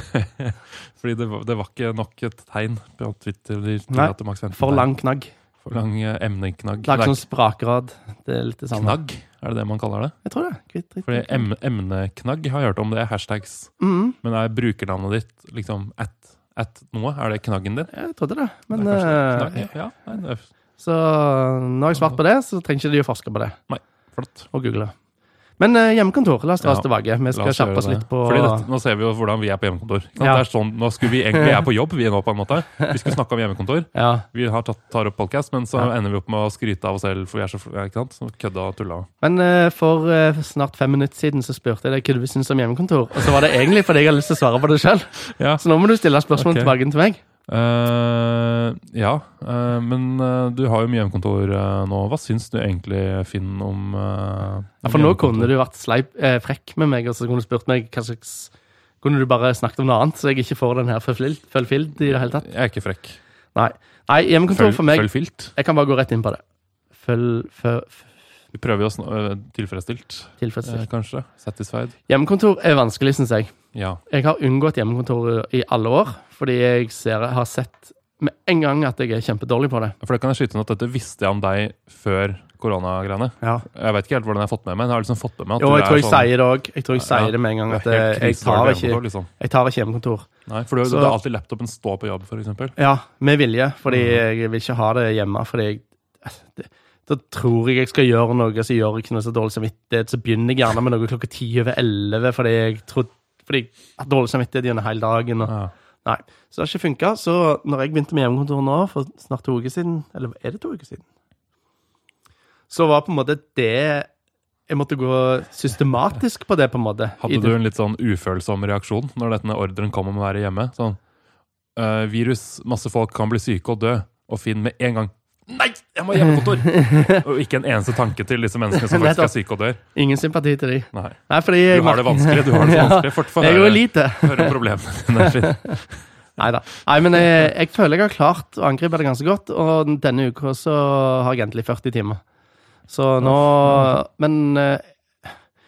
S1: Fordi det var, det var ikke nok et tegn på Twitter. De til
S2: Nei,
S1: at det maks 15
S2: For
S1: tegn.
S2: lang knagg.
S1: For lang eh, emneknagg.
S2: Lag
S1: Nei,
S2: sånn sprakrad. Det er litt det samme.
S1: Knagg, er det det man kaller det?
S2: Jeg tror det. Kvitt, dritt,
S1: Fordi
S2: knagg.
S1: em, emneknagg har jeg hørt om det, er hashtags.
S2: Mhm,
S1: Men er brukernavnet ditt liksom at, at noe? Er det knaggen din?
S2: jeg trodde det. Men
S1: det er kanskje
S2: eh,
S1: knagg, ja, nei, det er
S2: så nå har jeg svart på det, så trenger ikke de å forske på det
S1: flott.
S2: og google. Men eh, hjemmekontor, la oss dra oss
S1: Ja,
S2: tilbake. Vi
S1: La
S2: skal
S1: oss
S2: skjerpe
S1: gjøre
S2: oss
S1: det.
S2: litt på
S1: Fordi dette, Nå ser vi jo hvordan vi er på hjemmekontor. Ikke sant?
S2: Ja.
S1: Det er sånn, nå skulle Vi egentlig vi er på jobb, vi nå, på en måte. Vi skulle snakke om hjemmekontor.
S2: Ja,
S1: Vi har tatt, tar opp podcast, men så
S2: Ja.
S1: ender vi opp med å skryte av oss selv, for vi er så fl- ikke sant? Så kødda og tulla.
S2: Men eh, for eh, snart fem minutter siden så spurte jeg deg hva du syns om hjemmekontor. Og så var det egentlig fordi jeg hadde lyst til å svare på det sjøl.
S1: Ja.
S2: Så nå må du stille spørsmålet
S1: Ok.
S2: tilbake til meg.
S1: Eh, ja, eh, men eh, du har jo mye hjemmekontor eh, nå. Hva syns du egentlig, Finn, om, eh,
S2: Ja,
S1: om
S2: For nå
S1: hjemmekontor?
S2: kunne du vært sleip, eh, frekk med meg, og så kunne du spurt meg hva slags Kunne du bare snakket om noe annet, så jeg ikke får den her fulfilled i det hele tatt?
S1: Jeg er ikke frekk.
S2: Nei, Nei hjemmekontor
S1: Følg,
S2: for meg
S1: følg filt.
S2: Jeg kan bare gå rett inn på det. Følg føl,
S1: Vi prøver jo å sn eh, tilfredsstilt, eh,
S2: tilfredsstilt.
S1: kanskje. Satisfied.
S2: Hjemmekontor er vanskelig, syns jeg.
S1: Ja.
S2: Jeg har unngått hjemmekontor i alle år, fordi jeg ser, har sett med en gang at jeg er kjempedårlig på det.
S1: For det kan jeg skyte inn at dette visste jeg om deg før koronagreiene.
S2: Ja.
S1: Jeg vet ikke helt hvordan jeg har fått med meg, men jeg har liksom fått med meg at
S2: Jo,
S1: du
S2: jeg
S1: er
S2: tror jeg
S1: sånn-
S2: sier det òg. Jeg tror jeg
S1: Ja, ja.
S2: sier det med en gang. At
S1: du er helt
S2: eh, jeg
S1: krisedårlig
S2: tar
S1: hjemmekontor,
S2: ikke,
S1: liksom.
S2: jeg tar ikke hjemmekontor.
S1: Nei, for du,
S2: Så-
S1: du har alltid laptopen stå på jobb, for eksempel.
S2: Ja, med vilje, fordi
S1: Mm.
S2: jeg vil ikke ha det hjemme. Fordi jeg eh, det, Da tror jeg jeg skal gjøre noe, så gjør jeg ikke noe så dårlig samvittighet. Så begynner jeg gjerne med noe klokka ti over elleve fordi jeg trodde fordi jeg har dårlig samvittighet gjennom hele dagen. Og,
S1: Ja.
S2: nei, Så det har ikke funka. Så når jeg begynte med hjemmekontor nå, for snart to uker siden Eller er det to uker siden? Så var på en måte det Jeg måtte gå systematisk på det, på en måte. i
S1: Hadde
S2: det-
S1: du en litt sånn ufølsom reaksjon når denne ordren kom om å være hjemme? Sånn, «Eh, virus, masse folk kan bli syke og dø, og Finn med en gang Nei, jeg må ha hjemmekontor! og ikke en eneste tanke til disse menneskene som faktisk er syke og dør.
S2: Ingen sympati til de.
S1: Nei,
S2: Nei, fordi jeg
S1: Du har det vanskelig, du har det så vanskelig. Fort få
S2: Jeg er jo
S1: høre,
S2: lite.
S1: høre om problemene dine. Finn.
S2: Neida. Nei, men jeg, jeg føler jeg har klart å angripe det ganske godt, og denne uka så har jeg endelig 40 timer. Så nå Men eh,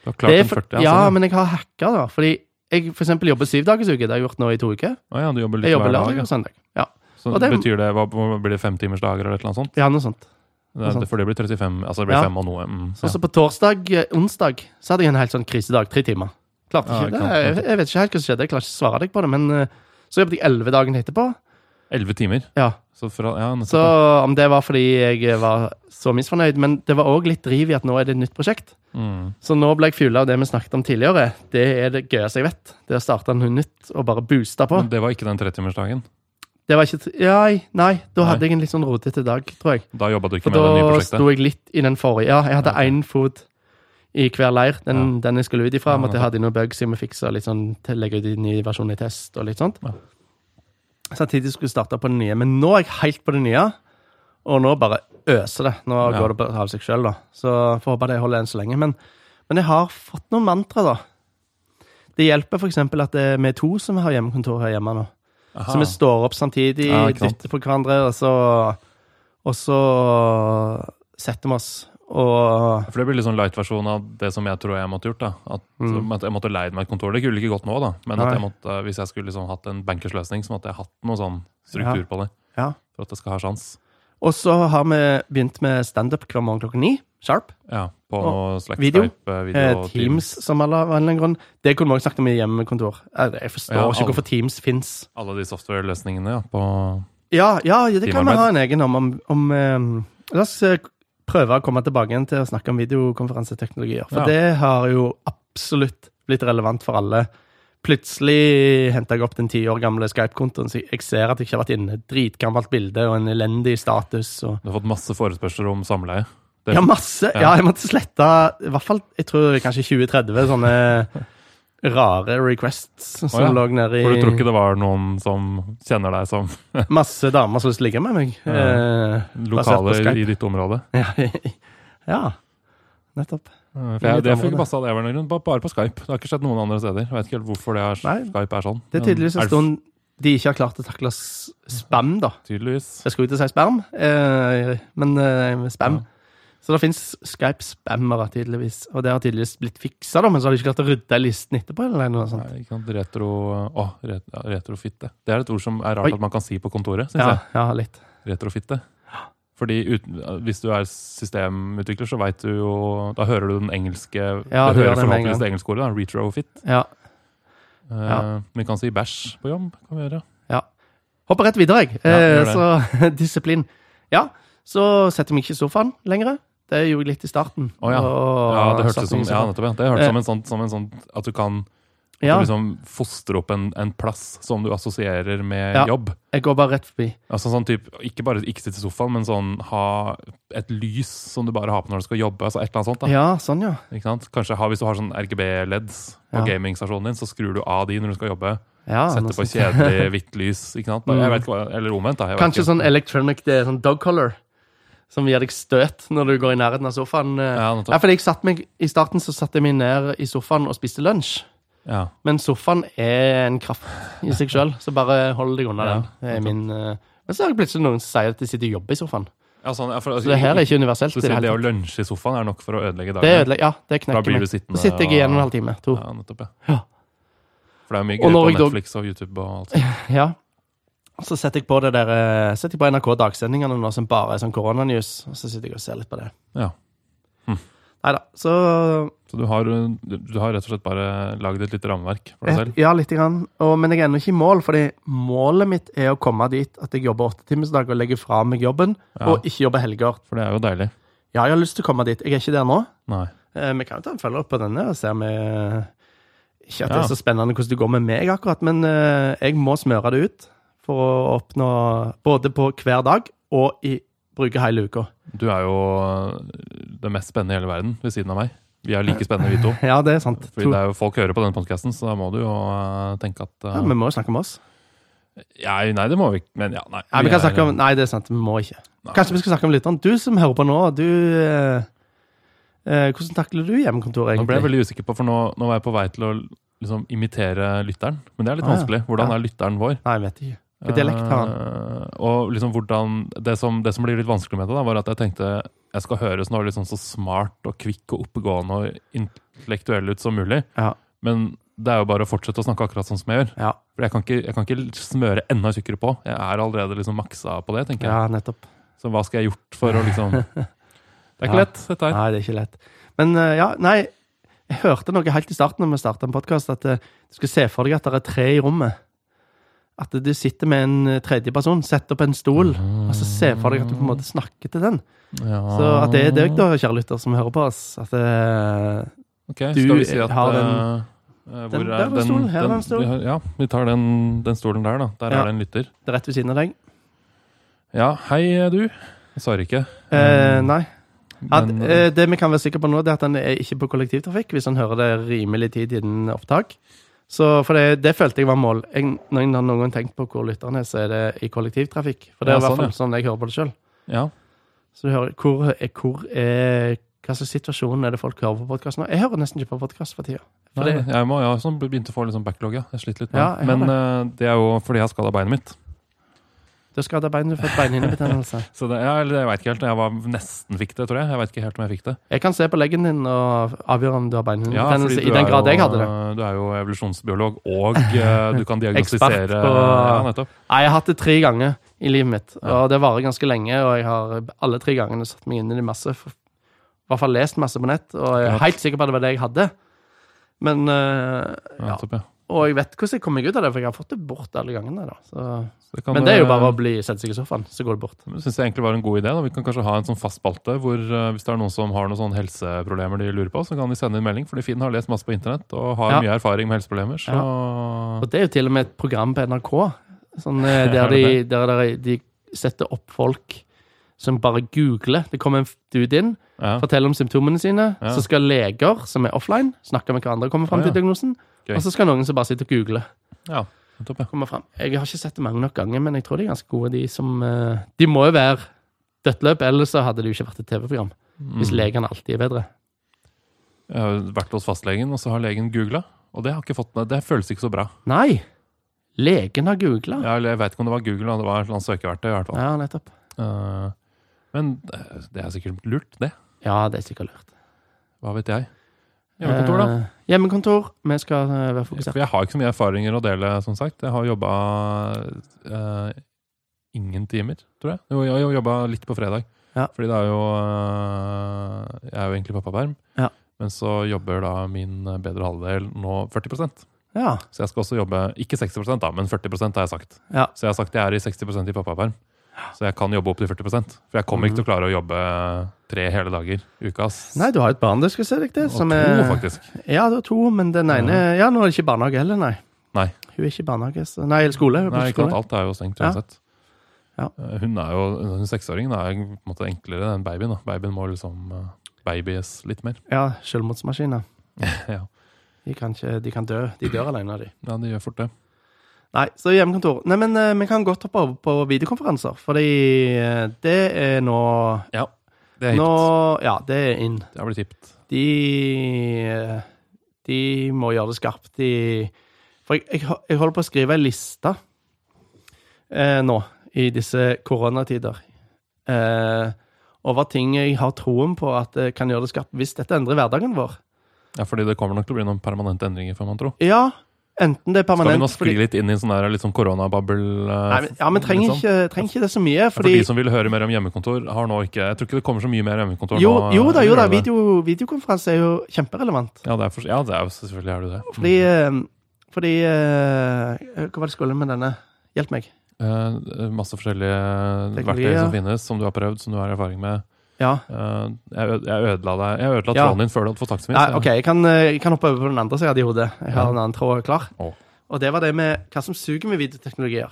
S1: Du har
S2: det
S1: klart
S2: er
S1: en
S2: for,
S1: 40, altså.
S2: Ja, men jeg har hacka, da. Fordi jeg for eksempel jobber syv dagers uke. Det har jeg gjort nå i to uker.
S1: Å ja, du jobber litt
S2: Jeg jobber
S1: hver dag.
S2: lørdag og søndag. Ja,
S1: ja. Så
S2: og det-
S1: betyr det hva, hva Blir det femtimersdager eller et eller annet sånt?
S2: ja noe sånt.
S1: Det,
S2: sant.
S1: for det blir 35 Altså det blir
S2: Ja.
S1: fem og noe. Mm,
S2: Så også på torsdag, eh, onsdag, så hadde jeg en helt sånn krisedag. Tre timer. Klarte
S1: Ja,
S2: ikke
S1: ikke
S2: det.
S1: sant,
S2: Jeg, jeg vet ikke helt hva som skjedde. Jeg klarer ikke å svare deg på det. Men eh, så jobbet jeg elleve dagen etterpå.
S1: Elleve timer.
S2: Ja,
S1: Så fra, ja, nettopp,
S2: Så
S1: ja.
S2: om det var fordi jeg var så misfornøyd, men det var òg litt driv i at nå er det et nytt prosjekt.
S1: Mm.
S2: Så nå ble jeg fulla av det vi snakket om tidligere. Det er det gøyeste jeg vet. Det å starte noe nytt og bare booste på.
S1: Men det var ikke den tretimersdagen.
S2: Det var ikke Ja, nei, da hadde
S1: Nei.
S2: jeg en litt sånn rotete dag, tror jeg.
S1: Da jobba du ikke
S2: For
S1: med det nye
S2: da
S1: prosjektet?
S2: sto jeg litt i den forrige. Ja, jeg hadde
S1: Ja, ok.
S2: én fot i hver leir, den, den jeg skulle ut ifra.
S1: Ja,
S2: Måtte jeg
S1: nettopp.
S2: hadde noen bugs jeg må fikse, litt sånn, til- legge ut i ny versjon i test og litt sånt.
S1: Ja.
S2: Samtidig skulle jeg starte på det nye. Men nå er jeg helt på det nye, og nå bare øser det. Nå
S1: Ja.
S2: går det bare av seg sjøl, da. Så får håpe det holder enn så lenge. Men, men jeg har fått noen mantra, da. Det hjelper f.eks. at det- vi er to som har hjemmekontor her hjemme nå.
S1: Aha.
S2: Så vi står opp samtidig,
S1: Ah. Ja, ikke sant.
S2: dytter på hverandre, og så Og så setter vi oss og
S1: For det blir litt sånn light-versjon av det som jeg tror jeg måtte gjort. da. At,
S2: Mm.
S1: at jeg måtte leid meg et kontor. Det kunne ikke gått nå, da. Men at
S2: Nei.
S1: jeg måtte, hvis jeg skulle liksom hatt en bankersløsning, så måtte jeg hatt noe sånn struktur på det.
S2: Ja.
S1: For at det skal ha sjans.
S2: Og så har vi begynt med standup hver morgen klokken ni. Sharp.
S1: Ja, på
S2: Og
S1: Slack,
S2: video.
S1: Skype, eh, video
S2: Eh,
S1: og
S2: Teams, som alle av en eller annen grunn. Det kunne vi også snakket om i hjemmekontor. Eh, Jeg forstår
S1: Ja, alle-
S2: ikke hvorfor Teams fins.
S1: Alle de software-løsningene ja, på
S2: Ja, ja, det kan vi
S1: Teamarbeid.
S2: ha en egen om. om, om eh, la oss eh, prøve å komme tilbake igjen til å snakke om videokonferanseteknologier. For
S1: Ja.
S2: det har jo absolutt blitt relevant for alle. Plutselig henta jeg opp den ti år gamle Skype-kontoen, så jeg ser at jeg ikke har vært inne. Dritgammelt bilde og en elendig status. og...
S1: Du har fått masse forespørsler om samleie. Det-
S2: Ja, masse.
S1: Ja.
S2: Ja, jeg måtte slette i hvert fall jeg tror kanskje 20-30 sånne rare requests som
S1: Å, ja.
S2: lå nede
S1: For du tror ikke
S2: i
S1: det var noen som kjenner deg som
S2: Masse damer som har lyst til å ligge med meg.
S1: Ja.
S2: Eh, Basert på
S1: lokale
S2: Skype.
S1: i ditt område?
S2: Ja, ja. nettopp.
S1: Eh, For
S2: I
S1: jeg,
S2: ditt
S1: det fikk
S2: område.
S1: passa det, av en eller annen grunn, ba- bare på Skype. Det har ikke skjedd noen andre steder. Jeg vet ikke helt hvorfor det er,
S2: Nei.
S1: Skype er sånn.
S2: Det er
S1: Men
S2: tydeligvis en
S1: det
S2: stund de ikke har klart å takle s- spam, da.
S1: Tydeligvis.
S2: Jeg skulle ikke si sperm, eh, men eh, spam. Så det fins Skype-spammere, tydeligvis. Og det har tydeligvis blitt fiksa, da, men så har de ikke klart å rydde listen etterpå. eller noe sånt.
S1: sånn. Nei, ikke sant. Retro, å, ret, ja, retrofitte. Det er et ord som er rart
S2: Oi.
S1: at man kan si på kontoret. Synes
S2: Ja, ja, litt.
S1: jeg. Retrofitte. Fordi uten, Hvis du er systemutvikler, så vet du jo Da hører du den engelske
S2: Ja,
S1: Du
S2: du
S1: hører
S2: gjør det med en
S1: forhåpentligvis
S2: gang.
S1: det engelske ordet. da, Retrofit.
S2: Ja.
S1: Eh,
S2: Ja.
S1: Vi kan si bæsj på jobb. kan vi gjøre.
S2: Hopper rett videre, jeg.
S1: Ja,
S2: Eh,
S1: gjør
S2: så disiplin. Ja, så setter jeg meg ikke i sofaen lenger. Det gjorde jeg litt i starten.
S1: Å, ja.
S2: Og-
S1: Ja, det hørtes
S2: satte
S1: som,
S2: meg i
S1: ja,
S2: sofaen.
S1: nettopp, ja. Det hørtes som, en sånn, som en sånn at du kan at
S2: Eh, Ja,
S1: du liksom fostre opp en, en plass som du assosierer med
S2: Ja.
S1: jobb.
S2: jeg går bare rett forbi.
S1: Altså sånn typ, Ikke bare ikke sitte i sofaen, men sånn ha et lys som du bare har på når du skal jobbe. altså et eller annet sånt da.
S2: Ja, sånn, ja.
S1: Ikke sant? Kanskje ha, Hvis du har sånn RGB-LEDs på
S2: Ja. Ah,
S1: gamingstasjonen din, så skrur du av de når du skal jobbe.
S2: ja noe
S1: Setter på
S2: sånt.
S1: kjedelig hvitt lys. ikke sant? Jeg vet ikke hva, Eller omvendt. da. Jeg vet
S2: Mm. Kanskje
S1: ikke.
S2: sånn electronic det er sånn dog color, som gir deg støt når du går i nærheten av sofaen. Eh, Ja,
S1: Ja, sånn. nettopp.
S2: fordi jeg satt meg, I starten så satte jeg meg ned i sofaen og spiste lunsj.
S1: ja.
S2: Men sofaen er en kraft i seg sjøl, så bare hold deg unna
S1: Ja,
S2: den. Det er min, eh, men så er det plutselig noen som sier at de sitter og jobber i sofaen.
S1: ja, sånn, ja for,
S2: Så det her er ikke universelt.
S1: så
S2: i det
S1: selv
S2: hele
S1: det
S2: tatt.
S1: å lunsje i sofaen er nok for å ødelegge
S2: Det
S1: dagen.
S2: ødelegger Ja, det
S1: Da
S2: knekker
S1: blir
S2: meg.
S1: du sittende
S2: Så sitter jeg
S1: og-
S2: igjen en halvtime. To.
S1: Ja, nettopp, ja.
S2: Ja.
S1: For det er mye
S2: Og
S1: gøy
S2: når
S1: på
S2: jeg da-
S1: Netflix og YouTube og alt sånt.
S2: Ja. Og så setter jeg på det der eh, Setter jeg på NRK Dagsendingene nå som bare er sånn koronanews, og så sitter jeg og ser litt på det.
S1: Ja.
S2: Nei da. Så
S1: Så du har, du har rett og slett bare lagd et lite rammeverk for deg selv?
S2: Eh, Ja, lite grann. Og, men jeg er ennå ikke i mål, fordi målet mitt er å komme dit at jeg jobber åttetimersdag og legger fra meg jobben,
S1: Ja.
S2: og ikke jobber helger.
S1: For det er jo deilig.
S2: Ja, jeg har lyst til å komme dit. Jeg er ikke der nå.
S1: Nei.
S2: Eh, Vi kan jo ta en følger opp på denne og se om eh, Ikke at det
S1: Ja.
S2: er så spennende hvordan det går med meg, akkurat, men eh, jeg må smøre det ut for å oppnå Både på hver dag og i bruke hele uka.
S1: Du er jo øh, det mest spennende i hele verden ved siden av meg. Vi er like spennende, vi to.
S2: Ja, det er sant.
S1: Fordi
S2: To,
S1: det er jo folk hører på denne podkasten, så da må du jo eh, tenke at
S2: ja,
S1: eh,
S2: vi må jo snakke om oss.
S1: ja, Nei, det må vi ikke, men ja, nei.
S2: Nei, vi
S1: er-
S2: kan snakke om, nei, det er sant. Vi må ikke. Kanskje vi skal snakke om lytteren. Du som hører på nå, du eh, eh, Hvordan takler du hjemmekontoret,
S1: Nå ble jeg
S2: egentlig?
S1: veldig usikker på, for nå, nå var jeg på vei til å liksom, imitere lytteren. Men det er litt
S2: Ah, ja.
S1: vanskelig. Hvordan
S2: Ja.
S1: er lytteren vår?
S2: Nei, jeg vet ikke. Hvilken dialekt har
S1: Eh, og liksom hvordan, det som, det som blir litt vanskelig med det, da, var at jeg tenkte jeg skal høres nå liksom så smart og kvikk og oppegående og intellektuell ut som mulig.
S2: Ja.
S1: Men det er jo bare å fortsette å snakke akkurat sånn som jeg gjør.
S2: Ja,
S1: For jeg kan ikke, jeg kan ikke smøre enda tykkere på. Jeg er allerede liksom maksa på det, tenker jeg.
S2: ja, nettopp.
S1: Så hva skal jeg gjort for å liksom Det er ikke
S2: Ja.
S1: lett, dette her.
S2: Nei, det er ikke lett. Men eh, ja, nei, jeg hørte noe helt i starten når vi starta en podkast, at eh, du skal se for deg at det er tre i rommet. At du sitter med en eh, tredje person, setter opp en stol, og så Altså, se for deg at du på en måte snakker til den.
S1: Ja.
S2: Så at det er deg, da, kjære lytter, som hører på oss. At eh,
S1: Ok,
S2: Du
S1: skal vi si at
S2: har den-
S1: eh, eh, hvor
S2: den-
S1: er
S2: der var stolen, her var en stol.
S1: vi har- Ja, vi tar den, den stolen der, da. Der
S2: Ja.
S1: er det en lytter.
S2: det er rett ved siden av deg.
S1: Ja, hei, eh, du. Jeg svarer ikke.
S2: Eh,
S1: Mm.
S2: nei. At,
S1: men-
S2: eh, det vi kan være sikre på nå, det er at han er ikke på kollektivtrafikk hvis han hører det rimelig tid innen opptak. Så, for det, det følte jeg var mål. Jeg, når jeg har noen gang tenkt på hvor lytteren er, så er det i kollektivtrafikk. For
S1: Ja,
S2: det er i hvert
S1: sånn,
S2: fall sånn jeg hører på det sjøl.
S1: Ja.
S2: Så du hører, hvor er, hvor er Hva slags situasjon er det folk hører på podkast nå? Jeg hører nesten ikke på podkast for tida. For
S1: Nei,
S2: det-
S1: jeg må, jeg har sånn begynt å få litt sånn backlog, ja. Jeg sliter litt med
S2: Ja,
S1: det.
S2: jeg har
S1: Men eh, det er jo fordi jeg har skada beinet mitt.
S2: Du har skada beinet, du har fått beinhinnebetennelse.
S1: Så det, ja, eller jeg vet ikke helt. Jeg var nesten fikk det, tror jeg. Jeg vet ikke helt om jeg fikk det.
S2: Jeg kan se på leggen din og avgjøre om Mm. du har
S1: Ja, fordi
S2: beinhinnebetennelse.
S1: du
S2: I den
S1: er jo- eh,
S2: grad jeg hadde det.
S1: Du er jo evolusjonsbiolog, og eh, du kan diagnostisere
S2: Ekspert på-
S1: Ja, nettopp.
S2: Nei, jeg har hatt det tre ganger i livet mitt, og
S1: Ja.
S2: det varer ganske lenge. Og jeg har alle tre gangene satt meg inn i det masse. f- I hvert fall lest masse på nett, og jeg
S1: Ja.
S2: er helt sikker på at det var det jeg hadde. Men eh,
S1: Ja,
S2: ja.
S1: nettopp, ja.
S2: Og jeg vet hvordan jeg kom meg ut av det, for jeg har fått det bort alle gangene. da så.
S1: Så kan
S2: Men det er jo bare å bli sette seg i sofaen, så går det bort.
S1: Det synes jeg egentlig var en god idé. Da. Vi kan kanskje ha en sånn fast spalte hvor eh, hvis det er noen som har noen sånne helseproblemer de lurer på, så kan de sende en melding. Fordi Finn har lest masse på internett og har
S2: Ja.
S1: mye erfaring med helseproblemer. Så
S2: Og det er jo til og med et program på NRK sånn, eh,
S1: Er
S2: der, de,
S1: det
S2: der de- de setter opp folk som bare googler. Det kommer en dude inn,
S1: ja,
S2: forteller om symptomene sine.
S1: Ja.
S2: Så skal leger som er offline, snakke med hverandre og komme fram
S1: Å, ja.
S2: til diagnosen.
S1: Gøy.
S2: Og så skal noen som bare sitter og googler,
S1: ja, nettopp, ja.
S2: komme fram. Jeg har ikke sett det mange nok ganger, men jeg tror de er ganske gode, de som eh, De må jo være dødtløp, ellers så hadde det jo ikke vært et TV-program. Hvis legene alltid er bedre.
S1: Mm. Jeg har vært hos fastlegen, og så har legen googla. Og det har ikke fått Det føles ikke så bra.
S2: Nei! Legen har googla. Ja.
S1: Ja, eller jeg vet ikke om det var Google, da. det var et eller annet søkeverktøy. i hvert fall.
S2: nettopp.
S1: Eh, Men eh, det er sikkert lurt, det.
S2: Ja, det er sikkert lurt.
S1: Hva vet jeg. Hjemmekontor, da.
S2: Eh, hjemmekontor. Vi skal eh, være fokusert.
S1: For jeg har ikke så mye erfaringer å dele, som sagt. Jeg har jobba eh, ingen timer, tror jeg. Jo, jeg har jobba litt på fredag.
S2: Ja.
S1: Fordi det er jo eh, Jeg er jo egentlig pappaperm.
S2: Ja.
S1: Men så jobber da min bedre halvdel nå 40
S2: Ja,
S1: Så jeg skal også jobbe Ikke 60 da, men 40 har jeg sagt.
S2: Ja.
S1: Så jeg har sagt jeg er i 60 i pappaperm. Så jeg kan jobbe opp til 40 For jeg kommer ikke til å klare å jobbe tre hele dager i uka. ass.
S2: Mm. Nei, du har et barn du skal se deg til.
S1: Og
S2: Som
S1: to,
S2: er,
S1: faktisk.
S2: ja, du har to, men den ene Ja, nå er det ikke barnehage heller, nei.
S1: Nei.
S2: Hun er ikke i barnehage. Så, nei, eller skole. hun er på
S1: Nei, ikke sant.
S2: skole.
S1: Alt er jo stengt
S2: Ja.
S1: uansett.
S2: Ja.
S1: Eh, Hun er jo, hun seksåringen er jo på en måte enklere enn babyen. Da. Babyen må liksom eh, babies litt mer.
S2: Ja, selvmordsmaskiner.
S1: ja.
S2: De kan, ikke, de kan dø. De dør alene, de.
S1: ja, det gjør fort det.
S2: Nei, så hjemmekontor. Nei, men eh, vi kan godt hoppe over på videokonferanser, fordi eh, det er nå
S1: Ja, det er hipt.
S2: Nå Ja, det er inn.
S1: Det har blitt hipt.
S2: De eh, De må gjøre det skarpt. De For jeg, jeg, jeg holder på å skrive ei liste eh, nå, i disse koronatider, eh, over ting jeg har troen på at eh, kan gjøre det skarpt hvis dette endrer hverdagen vår.
S1: Ja, fordi det kommer nok til å bli noen permanente endringer, får man tro.
S2: Ja, enten
S1: Skal vi
S2: det er permanent
S1: nå skli litt inn i en sånn der litt sånn koronababbel? eh,
S2: Nei, men, Ja, men trenger
S1: liksom?
S2: ikke, trenger ikke det så mye,
S1: Ja, For
S2: fordi
S1: de som vil høre mer om hjemmekontor, har nå ikke Jeg tror ikke det kommer så mye mer hjemmekontor
S2: jo,
S1: nå.
S2: jo da, jo da,
S1: gjør det det?
S2: video, videokonferanse er jo kjemperelevant.
S1: Ja, det er for, ja det er, jo- selvfølgelig er det det.
S2: Fordi, eh,
S1: Mm.
S2: fordi eh, Hva var det skolen med denne? Hjelp meg.
S1: Eh, masse forskjellige
S2: Teknologi,
S1: verktøy
S2: ja.
S1: som finnes, som du har prøvd, som du har erfaring med.
S2: Ja.
S1: Eh, jeg, øde, jeg ødela deg Jeg ødela
S2: Ja.
S1: tråden din før du hadde fått sagt så mye.
S2: Nei,
S1: så-
S2: ok, jeg kan, eh, jeg kan hoppe over på den andre som jeg hadde i hodet. Jeg har
S1: Ja.
S2: en annen tråd klar.
S1: Å.
S2: Og det var det med hva som suger med videoteknologier.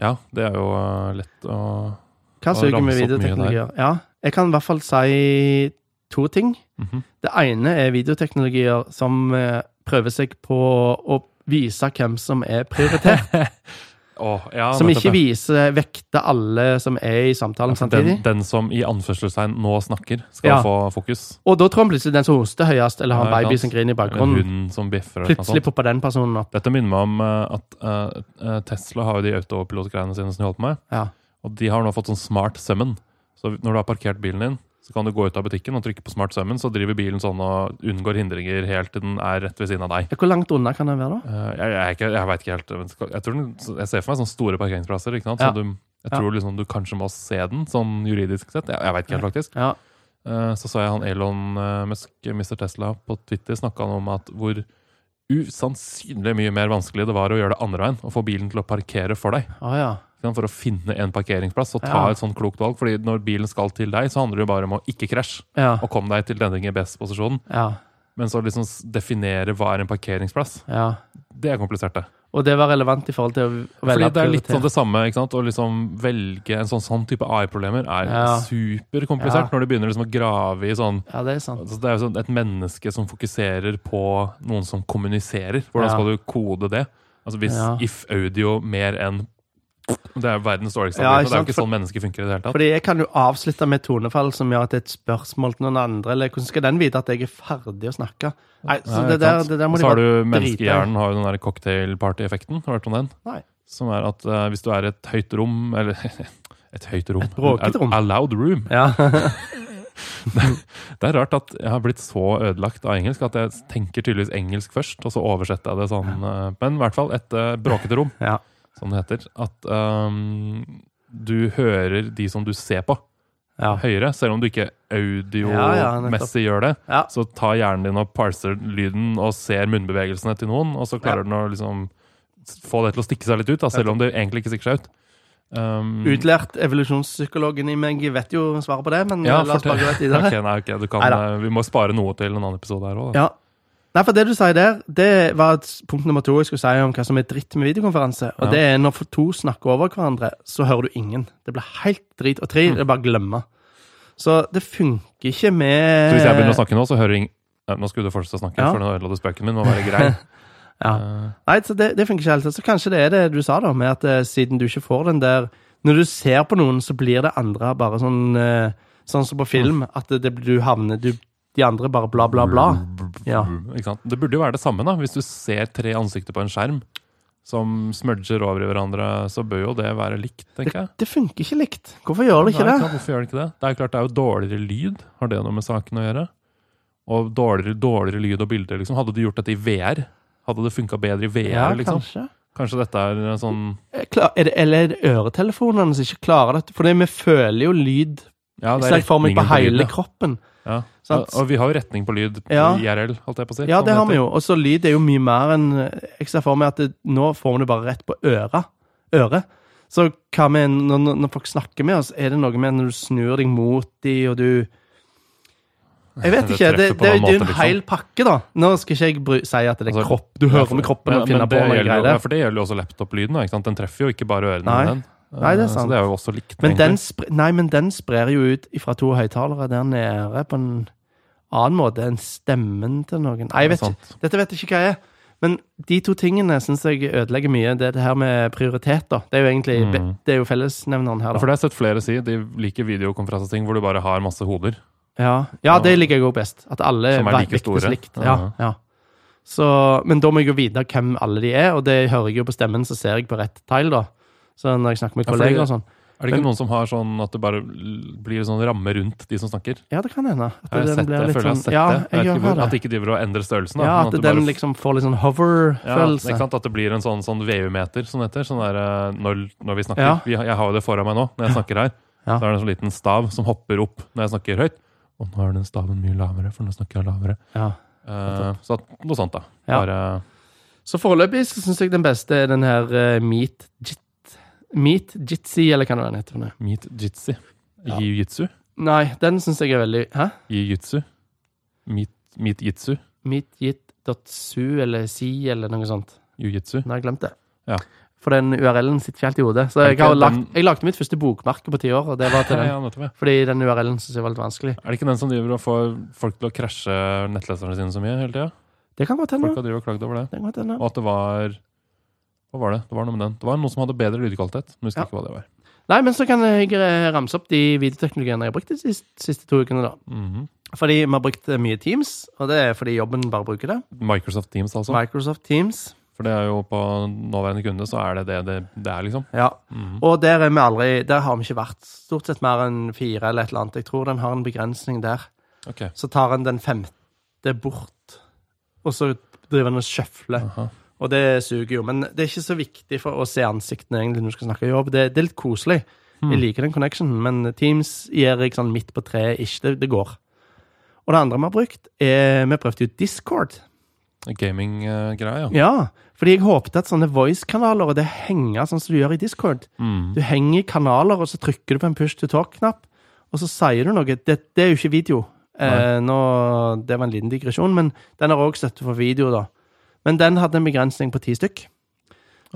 S1: Ja, det er jo eh, lett å
S2: Hva
S1: Det har
S2: suger med
S1: ramset opp mye
S2: videoteknologier? Ja, jeg kan i hvert fall si to ting.
S1: Mhm.
S2: Det ene er videoteknologier som eh, prøver seg på å vise hvem som er prioritert.
S1: Åh, ja,
S2: som
S1: nettopp,
S2: ikke
S1: ja.
S2: vekter vekte alle som er i samtalen
S1: Den,
S2: samtidig.
S1: den som i anførselstegn nå snakker, skal
S2: Ja.
S1: få fokus.
S2: Og da tror han plutselig den som hoster høyest, eller har en
S1: Ja, ikke
S2: baby
S1: sant.
S2: som griner i
S1: En
S2: bakgrunnen.
S1: hund som bjeffer. eller noe
S2: Plutselig
S1: sånt.
S2: popper den personen opp.
S1: Dette minner meg om eh, at eh, eh, Tesla har jo de autopilotgreiene sine som de holder på med.
S2: Ja.
S1: Og de har nå fått sånn smart summon. Så når du har parkert bilen din, så kan du gå ut av butikken og trykke på smart summon, så driver bilen sånn og unngår hindringer helt til den er rett ved siden av deg.
S2: Hvor langt unna kan den være da?
S1: Eh, jeg, jeg, er ikke- jeg vet ikke helt men skal- jeg, tror den, jeg ser for meg sånne store parkeringsplasser. Ikke sant?
S2: Ja.
S1: Så du, jeg
S2: Ja.
S1: tror liksom du kanskje må se den, sånn juridisk sett. Jeg, jeg vet ikke helt, faktisk.
S2: Ja.
S1: Eh, Så så jeg han Elon eh, Musk, Mr. Tesla, på Twitter snakka om at hvor usannsynlig mye mer vanskelig det var å gjøre det andre veien. Å få bilen til å parkere for deg.
S2: Å ja.
S1: Ikke sant? For å finne en parkeringsplass og ta
S2: Ja.
S1: et sånt klokt valg. Fordi når bilen skal til deg, så handler det jo bare om å ikke krasje.
S2: Ja.
S1: Og komme deg til den GPS-posisjonen.
S2: ja.
S1: Men så liksom s- definere hva er en parkeringsplass,
S2: ja.
S1: det er komplisert, det.
S2: Og det var relevant i forhold til å velge
S1: Fordi det er litt sånn
S2: prioritet.
S1: det samme. ikke sant? Å liksom velge en sånn, sånn type AI-problemer er
S2: Ja.
S1: superkomplisert
S2: Ja.
S1: når du begynner liksom å grave i sånn
S2: Ja, det er sant.
S1: altså Det er jo sånn et menneske som fokuserer på noen som kommuniserer. Hvordan
S2: Ja.
S1: skal du kode det? Altså hvis
S2: Ja.
S1: if audio mer enn Det er verdens dårligste
S2: Ja,
S1: algoritme.
S2: ikke
S1: Det er
S2: sant?
S1: jo ikke sånn mennesker funker i det hele tatt.
S2: Fordi jeg kan jo avslutte med et tonefall som gjør at det er et spørsmål til noen andre, eller hvordan skal den vite at jeg er ferdig å snakke? Nei, så
S1: Nei,
S2: det
S1: ikke
S2: der,
S1: sant?
S2: det der må
S1: Og
S2: de
S1: så har
S2: bare
S1: du
S2: drite i.
S1: menneskehjernen har jo den der cocktailparty-effekten. Har du hørt om den?
S2: Nei.
S1: Som er at eh, hvis du er i et høyt rom, eller et høyt rom
S2: Et bråket rom.
S1: A, a loud room.
S2: Ja.
S1: Det er rart at jeg har blitt så ødelagt av engelsk at jeg tenker tydeligvis engelsk først, og så oversetter jeg det sånn. eh, Men i hvert fall et eh, bråkete rom,
S2: ja.
S1: som det heter. At ehm, du hører de som du ser på,
S2: ja.
S1: høyere. Selv om du ikke
S2: Ja, ja, nettopp.
S1: audiomessig gjør det,
S2: Ja.
S1: så tar hjernen din og parser lyden og ser munnbevegelsene til noen, og så klarer
S2: Ja.
S1: den å liksom s- få det til å stikke seg litt ut, da, selv om det egentlig ikke stikker seg ut. Um,
S2: Utlært evolusjonspsykologen i meg vet jo svaret på det, men
S1: Ja,
S2: eh, la oss
S1: fortell.
S2: bare gå rett videre.
S1: Ok, nei, ok, du kan,
S2: Neida.
S1: eh, vi må spare noe til en annen episode her òg.
S2: Ja. Nei, for det du sier der, det var et punkt nummer to jeg skulle si om hva som er dritt med videokonferanse.
S1: Ja.
S2: Og det er når to snakker over hverandre, så hører du ingen. Det blir helt drit. Og
S1: Mm.
S2: tre, det er bare å glemme. Så det funker ikke med
S1: Så hvis jeg begynner å snakke nå, så hører ingen Nei, Nå skulle du fortsette å snakke,
S2: Eh. Ja.
S1: for nå ødela du spøken min. Må være grei.
S2: Ja.
S1: Eh,
S2: Nei, så det, det funker ikke helt. Så kanskje det er det du sa, da, med at eh, siden du ikke får den der Når du ser på noen, så blir det andre bare sånn eh, Sånn som på film,
S1: Mm.
S2: at det, det, du havner du, De andre bare bla, bla, bla. Ja.
S1: Ikke sant? Det burde jo være det samme, da. Hvis du ser tre ansikter på en skjerm som smudger over i hverandre, så bør jo det være likt, tenker jeg.
S2: Det funker ikke likt. Hvorfor gjør det ikke
S1: Nei,
S2: det?
S1: sant, Hvorfor gjør det ikke det? Det er jo klart det er jo dårligere lyd. Har det noe med saken å gjøre? Og dårligere, dårligere lyd og bilder, liksom. Hadde du gjort dette i VR? Hadde det funka bedre i VR,
S2: Ja,
S1: liksom?
S2: kanskje.
S1: Kanskje dette er en sånn
S2: Eh, Klar, er det, eller er det øretelefonene som ikke klarer dette? Fordi vi føler jo lyd
S1: ja, det er
S2: Jeg ser for meg på
S1: retningen lyden,
S2: hele
S1: ja.
S2: kroppen.
S1: Ja.
S2: Sant?
S1: Og, og vi har jo retning på lyd
S2: Ja.
S1: i IRL, holdt jeg på å si.
S2: Ja,
S1: som
S2: det har
S1: heter.
S2: vi jo. Og så lyd er jo mye mer enn eh, Jeg ser for meg at det, nå får vi det bare rett på øra. øret. Så hva med når, når- når folk snakker med oss, er det noe med når du snur deg mot de, og du Jeg vet
S1: Det
S2: ikke. Det,
S1: treffer
S2: det,
S1: på
S2: det er
S1: en
S2: jo en
S1: måte, liksom.
S2: hel pakke, da. Nå skal ikke jeg bry, si at det er
S1: Altså,
S2: kropp. Du hører med kroppen
S1: Ja,
S2: og
S1: men
S2: finner på
S1: det
S2: noe
S1: gjelder jo-
S2: greier.
S1: Ja, for det gjelder jo også laptop-lyden. da, ikke sant? Den treffer jo ikke bare ørene.
S2: Nei.
S1: Den.
S2: Nei, det er
S1: Eh,
S2: sant.
S1: Så det er jo også likt.
S2: Men
S1: egentlig.
S2: den, spre, nei, men den sprer jo ut fra to høyttalere der nede på en annen måte enn stemmen til noen. Nei, jeg
S1: Det
S2: vet
S1: er
S2: ikke. Dette vet jeg ikke hva jeg er. Men de to tingene syns jeg ødelegger mye. Det, er det her med prioritet, da. Det er jo egentlig
S1: Mm.
S2: det er jo fellesnevneren
S1: Ja,
S2: her,
S1: for
S2: da.
S1: det har jeg sett flere si. De liker videokonferanseting hvor du bare har masse hoder.
S2: Ja, ja det liker jeg òg best. At alle
S1: Som er
S2: vei-
S1: like
S2: vektes
S1: store.
S2: likt. Ja,
S1: Ja.
S2: ja. Så, men da må jeg jo vite hvem alle de er, og det hører jeg jo på stemmen, så ser jeg på rett tile, da. Så når jeg snakker med
S1: Ja, for
S2: kolleger
S1: det-
S2: og sånn.
S1: Er det ikke
S2: Men-
S1: noen som har sånn at det bare l- blir sånn ramme rundt de som snakker?
S2: Ja, det kan hende. At
S1: Jeg, har
S2: den
S1: sett det.
S2: blir
S1: jeg
S2: litt
S1: føler jeg har
S2: sånn-
S1: sett
S2: ja,
S1: det. Jeg vet
S2: gjør
S1: ikke hvor,
S2: det.
S1: at det ikke driver og endrer størrelsen. Da,
S2: Ja,
S1: men
S2: at den
S1: du bare-
S2: liksom får litt sånn
S1: ja,
S2: hover-følelse.
S1: ikke sant? At det blir en sånn, sånn VU-meter, som det heter. Sånn der, eh, når, når vi snakker.
S2: Ja.
S1: Vi, har- jeg har jo det foran meg nå, når jeg snakker her.
S2: Ja.
S1: Da er det en sånn liten stav som hopper opp når jeg snakker høyt. Og nå er den staven mye lavere, for nå snakker jeg lavere.
S2: ja.
S1: Eh, så at, noe sånt, da.
S2: Ja.
S1: Bare,
S2: Så foreløpig syns jeg den beste er den her eh, Meet Jit... Meet Jitsi, eller hva det er den heter. for noe.
S1: Meet jitsi.
S2: Ja.
S1: Jiu-jitsu.
S2: Nei, den syns jeg er veldig Hæ?
S1: Jiu-jitsu. Meet, meet jitsu.
S2: Meetjit.su eller si eller noe sånt.
S1: Jiu-jitsu.
S2: Nå har jeg glemt det.
S1: Ja.
S2: For den URL-en sitter ikke helt i hodet. Så
S1: Er
S2: jeg,
S1: ikke
S2: har
S1: den-
S2: lagt, jeg lagde mitt første bokmerke på ti år, og det var til
S1: Ja,
S2: den.
S1: ja, nettopp, ja.
S2: Fordi den URL-en syns jeg var litt vanskelig.
S1: Er det ikke den som driver og får folk til å krasje nettleserne sine så mye hele tida?
S2: Det kan godt hende.
S1: Folk har drivet og klagd over det.
S2: Det kan godt hende.
S1: Og at det var Hva var det? Det var noe med den. Det var noe som hadde bedre lydkvalitet. Men husker
S2: Ja.
S1: ikke hva det var.
S2: Nei, men så kan jeg eh, ramse opp de videoteknologiene jeg har brukt de siste, siste to ukene, da.
S1: Mhm.
S2: Fordi vi har brukt eh, mye Teams, og det er fordi jobben bare bruker det.
S1: Microsoft Teams, altså.
S2: Microsoft Teams.
S1: For det er jo på nåværende kunde, så er det det det, det er, liksom.
S2: Ja.
S1: Mhm.
S2: Og der, er vi aldri, der har vi ikke vært stort sett mer enn fire eller et eller annet. Jeg tror den har en begrensning der.
S1: Ok.
S2: Så tar en den femte bort, og så driver en og sjøfler.
S1: Aha.
S2: Og det suger jo. Men det er ikke så viktig for å se ansiktene egentlig når du skal snakke jobb. Det, det er litt koselig. Jeg liker den connectionen, men Teams gir jeg sånn midt på treet ish. Det, det går. Og det andre vi har brukt, er Vi prøvde jo Discord.
S1: Gaming-greia, ja.
S2: Ja, fordi jeg håpte at sånne voice-kanaler og det henger sånn som du gjør i Discord.
S1: Mhm.
S2: Du henger i kanaler, og så trykker du på en push to talk-knapp, og så sier du noe. Det, det er jo ikke video. Eh, nå, det var en liten digresjon, men den har òg støtte for video, da. Men den hadde en begrensning på ti stykk.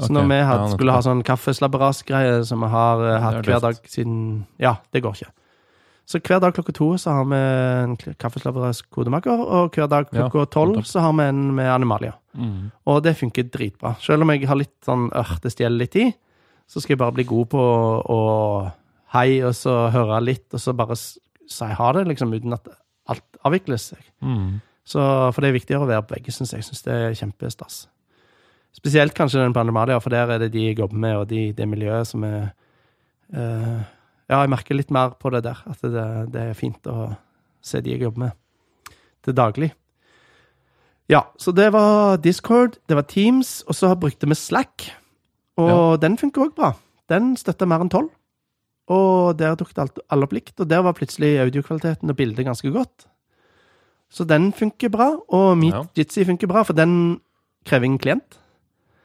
S2: Så
S1: Ok,
S2: når vi had,
S1: ja, nettopp.
S2: skulle ha sånn kaffeslabberas-greie som vi har eh, hatt
S1: Det er
S2: hver dag
S1: døvt.
S2: siden Ja, det går ikke. Så hver dag klokka to så har vi en kl- kaffeslabberas-kodemaker, og hver dag
S1: Ja,
S2: klokka tolv
S1: nettopp.
S2: så har vi en med animalia.
S1: Mhm.
S2: Og det funker dritbra. Selv om jeg har litt sånn øh, det stjeler litt tid, så skal jeg bare bli god på å, å hei, og så høre litt, og så bare s- si ha det, liksom, uten at alt avvikles.
S1: Mhm.
S2: Så, for det er viktigere å være på begge, syns jeg. Jeg syns det er kjempestas. Spesielt kanskje den på Andemalia, for der er det de jeg jobber med, og de, det miljøet som er eh, Ja, jeg merker litt mer på det der, at det, det er fint å se de jeg jobber med til daglig. Ja, så det var Discord, det var Teams, og så brukte vi Slack. Og den funker òg bra. Den støtta mer enn tolv. Og der tok det alt, all opp likt, og der var plutselig audiokvaliteten og bildet ganske godt. Så den funker bra,
S1: Ja.
S2: og Meet-Jitsi funker bra, for den krever ingen klient.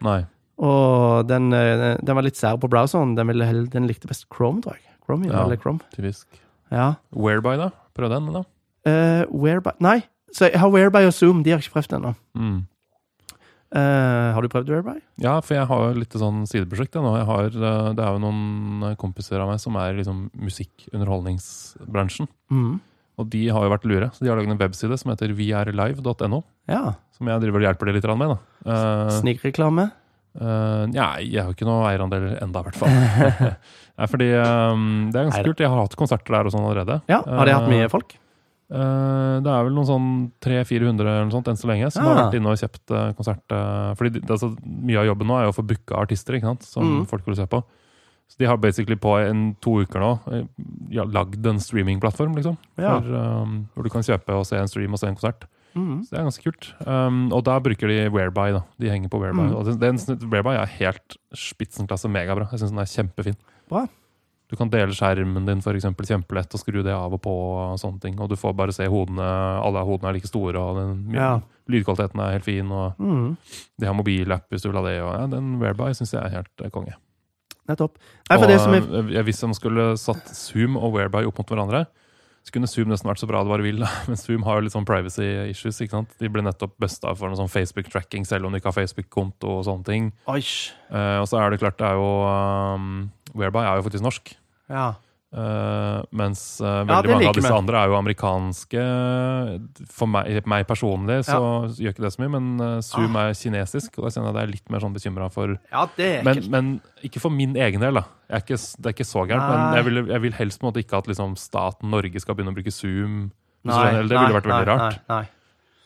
S1: Nei.
S2: Og den, eh, den var litt sær på browseren. Den, ville, hell- den likte best Chrome, tror jeg. Chrome, ja.
S1: Ja.
S2: Eller Chrome.
S1: Typisk.
S2: Ja.
S1: Whereby, da? Prøv den, da.
S2: Eh, whereby Nei, så jeg har Whereby og Zoom. De har jeg ikke prøvd ennå.
S1: Mm.
S2: Eh, har du prøvd Whereby?
S1: Ja, for jeg har jo litt sånn sideprosjekt. Jeg, nå. Jeg har, eh, det er jo noen kompiser av meg som er i liksom musikkunderholdningsbransjen.
S2: Mhm.
S1: Og de har jo vært lure. Så de har laget en webside som heter vrlive.no.
S2: Ja.
S1: Som jeg driver og hjelper de litt grann med. da. Eh,
S2: Snikreklame.
S1: Eh, nei, jeg har jo ikke noe eierandeler enda, i hvert fall. nei, fordi eh, det er ganske
S2: Neida.
S1: kult. Jeg har hatt konserter der og sånn allerede.
S2: Ja, Har de hatt mye folk?
S1: Eh, det er vel noen sånn 300-400 eller noe sånt enn så lenge som har
S2: Ah.
S1: vært inne og kjøpt eh, konsert. eh, fordi de- det, altså, mye av jobben nå er jo å få booka artister ikke sant, som
S2: Mm.
S1: folk vil se på. Så de har basically på en, to uker nå eh, ja, lagd en streamingplattform liksom,
S2: Ja.
S1: for, eh, hvor du kan kjøpe og se en stream og se en konsert.
S2: Mhm.
S1: Så det er ganske kult. Um, og da bruker de Whereby. da. De henger på Whereby.
S2: Mm.
S1: Og den, den sn- Whereby er helt spitsenklasse megabra. Jeg synes den er kjempefin.
S2: Bra.
S1: Du kan dele skjermen din for eksempel, kjempelett og skru det av og på. Og sånne ting. Og du får bare se hodene. Alle hodene er like store, og den, my-
S2: Ja.
S1: lydkvaliteten er helt fin. Og
S2: Mhm.
S1: de har mobilapp hvis du vil ha det. Og, ja, den Whereby syns jeg er helt eh, konge.
S2: Nettopp. Nei, for det som er,
S1: og, eh, Hvis de skulle satt Zoom og Whereby opp mot hverandre, så kunne Zoom nesten vært så bra det bare vil. da. Men Zoom har jo litt sånn privacy issues. ikke sant? De ble nettopp busta for noe sånn Facebook-tracking, selv om de ikke har Facebook-konto og sånne ting.
S2: Oi.
S1: Eh, og så er det klart, det er jo um, Whereby er jo faktisk norsk.
S2: Ja.
S1: eh, mens eh,
S2: Ja,
S1: veldig
S2: det
S1: mange av
S2: liker
S1: disse
S2: vi.
S1: andre er jo amerikanske. For meg, meg personlig så gjør ikke det så mye, men eh, Zoom
S2: Ah.
S1: er kinesisk, og da kjenner jeg at jeg er litt mer sånn bekymra for
S2: ja, det er
S1: men,
S2: ekkelt.
S1: men ikke for min egen del. da. Jeg er ikke, det er ikke så gærent. Men
S2: Nei.
S1: jeg vil, jeg vil helst på en måte ikke at liksom, staten Norge skal begynne å bruke Zoom. Hvis du skjønner, eller det ville vært veldig
S2: nei,
S1: rart.
S2: Nei, nei.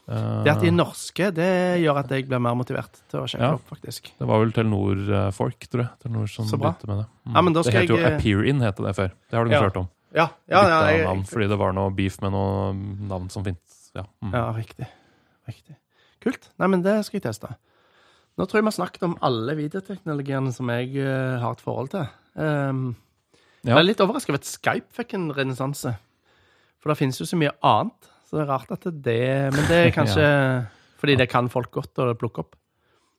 S1: Eh,
S2: Det at de er norske, det gjør at jeg blir mer motivert til å sjekke
S1: Ja.
S2: opp, faktisk.
S1: det var vel Telenor-folk, tror jeg. Telenor som
S2: Så bra.
S1: begynte med Det Mm.
S2: Ja, men da
S1: Det
S2: skal
S1: het jo
S2: jeg- eh,
S1: Appearin, het det før. Det har du
S2: Ja.
S1: kanskje hørt om.
S2: Ja, ja, ja,
S1: Bytte
S2: jeg-
S1: navn fordi det var noe beef med noe navn som fins. Ja. Mm.
S2: Ja, riktig. Riktig. Kult. Nei, men det skal jeg teste. Nå tror jeg vi har snakket om alle videoteknologiene som jeg eh, har et forhold til. Um,
S1: Ja.
S2: Jeg er litt overrasket over at Skype fikk en renessanse. For det finnes jo så mye annet. Så det er rart at det Men det er kanskje fordi det kan folk godt å plukke opp.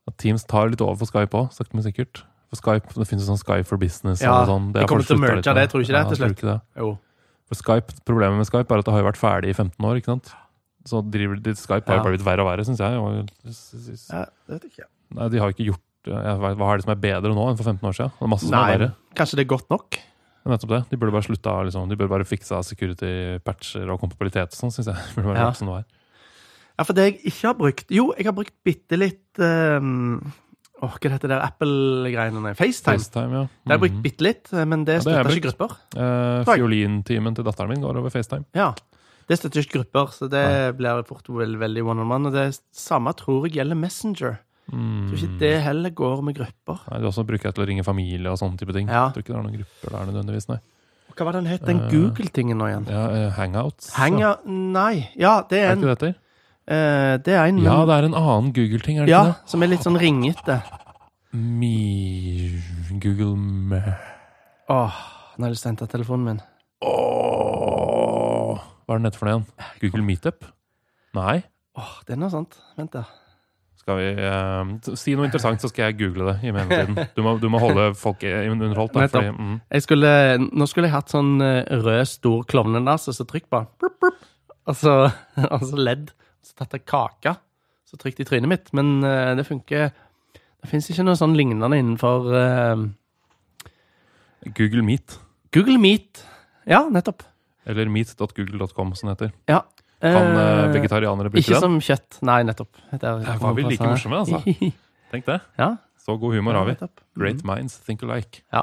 S1: At Teams tar litt over for Skype òg, sakte, men sikkert. For Skype, Det finnes jo sånn Skype for business.
S2: Ja,
S1: og sånn.
S2: de
S1: har
S2: kommer
S1: folk
S2: til å
S1: sluttet
S2: merge
S1: litt med.
S2: det, tror du ikke det,
S1: Ja,
S2: til
S1: tror
S2: slutt?
S1: ikke det.
S2: Jo.
S1: For Skype, Problemet med Skype er at det har jo vært ferdig i 15 år. ikke sant? Så driver de, Skype har jo
S2: Ja.
S1: bare blitt verre og verre, syns jeg. Og, s- s- s-
S2: Ja, det vet jeg ikke.
S1: nei, de har jo ikke gjort jeg vet, Hva er det som er bedre nå enn for 15 år siden? Det er masse som
S2: Nei,
S1: er verre.
S2: kanskje det er godt nok?
S1: Men nettopp det. De burde bare slutta, liksom. De burde bare fiksa security-patcher og kompatibilitet og sånn, syns jeg. Det Burde bare
S2: Ja.
S1: vært som det var.
S2: Ja, for det jeg ikke har brukt Jo, jeg har brukt bitte litt ehm, Åh, hva heter det der Apple-greiene? Nei, FaceTime.
S1: FaceTime, ja.
S2: Det har jeg brukt
S1: Mhm.
S2: bitte litt, eh, men det
S1: det har jeg
S2: støtter ikke grupper.
S1: Eh,
S2: Takk.
S1: Fiolintimen til datteren min går over FaceTime.
S2: Ja, Det støtter ikke grupper, så det blir fort vel, veldig one on one. Og det samme tror jeg gjelder Messenger.
S1: Mm.
S2: Tror ikke det heller går med grupper.
S1: Nei, det også bruker jeg til å ringe familie og sånne type ting.
S2: Ja.
S1: Jeg tror ikke det er noen grupper der nødvendigvis, nei.
S2: Og Hva var den het, den
S1: Eh,
S2: Google-tingen nå igjen?
S1: Ja, eh, hangouts. ja.
S2: Hangout Nei. Ja, det er
S1: Er
S2: en.
S1: ikke det etter?
S2: eh, det er en men,
S1: Ja,
S2: ja,
S1: det er en annen Google-ting, er det ikke det?
S2: som er litt sånn ringete.
S1: Mi Google Me-
S2: Åh, nå har jeg lyst til å hente telefonen min.
S1: Åh, Hva er den heter for noe igjen? Google Meetup? Nei?
S2: Åh, det er noe sånt. Vent, da.
S1: Skal vi eh, Si noe interessant, så skal jeg google det i mellomtiden. Du må, du må holde folk eh, underholdt. Da, fordi,
S2: Nettopp.
S1: mm,
S2: Jeg skulle, nå skulle jeg hatt sånn eh, rød, stor klovnenasse, så trykk på den. Blup, blup. Og så, og så ledd. Så tatt jeg kake, så trykt i trynet mitt. Men eh, det funker Det fins ikke noe sånn lignende innenfor eh,
S1: Google Meet.
S2: Google Meet. Ja, nettopp.
S1: Eller meet.google.com, som det heter.
S2: Ja.
S1: Kan eh,
S2: Eh,
S1: vegetarianere bruke
S2: Ikke
S1: den?
S2: som kjøtt. Nei, nettopp. Det er-
S1: Her var vi like morsomme, altså. Tenk det.
S2: ja,
S1: Så god humor har vi.
S2: nettopp. Mm.
S1: Great minds think alike.
S2: Ja.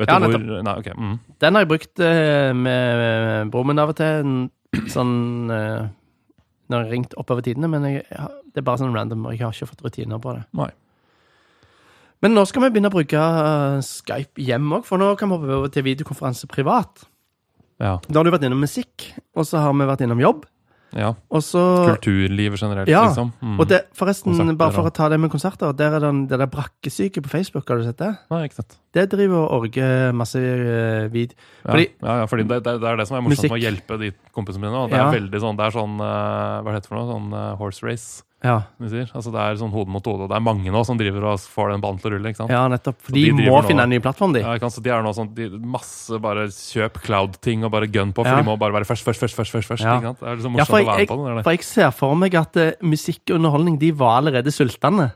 S1: Vet
S2: Ja,
S1: du hvor
S2: nettopp.
S1: Nei, ok. Mm.
S2: Den har jeg brukt eh, med broren min av og til. en Sånn eh, Når jeg har ringt oppover tidene, men jeg, har- det er bare sånn random. Og jeg har ikke fått rutiner på det.
S1: Nei.
S2: Men nå skal vi begynne å bruke eh, Skype hjem òg, for nå kan vi hoppe over til videokonferanse privat.
S1: Ja.
S2: Da har du vært innom musikk, og så har vi vært innom jobb.
S1: ja.
S2: Og så
S1: Kulturlivet generelt,
S2: Ja,
S1: liksom. Mm.
S2: Og det, forresten,
S1: Konserter,
S2: bare for
S1: da.
S2: å ta det med konserter, der er den, det der brakkesyke på Facebook, har du sett det?
S1: Nei, ikke sant.
S2: Det driver og orger masse eh, vid...
S1: Ja,
S2: Fordi-
S1: ja, ja, fordi det, det, det er det som er morsomt
S2: Musikk.
S1: med å hjelpe de kompisene mine. nå. Det er
S2: Ja.
S1: veldig sånn, det er sånn eh, Hva heter det for noe? Sånn eh, horse race.
S2: Ja,
S1: som de sier. Altså, det er sånn hode mot hode. og Det er mange nå som driver og får den ballen til å rulle. ikke sant?
S2: ja nettopp. For
S1: de
S2: de, må
S1: driver nå-
S2: finne en ny plattform, de.
S1: Ja, ikke sant? Så de er nå sånn, de, masse bare kjøp cloud-ting og bare gun på, for
S2: Ja.
S1: de må bare være først, først, først. først, først, først
S2: Ja.
S1: ikke sant? Det er liksom
S2: Ja,
S1: morsomt
S2: for
S1: å være
S2: jeg,
S1: med på
S2: jeg,
S1: det.
S2: for jeg ser for meg at eh, musikk og underholdning de var allerede sultne.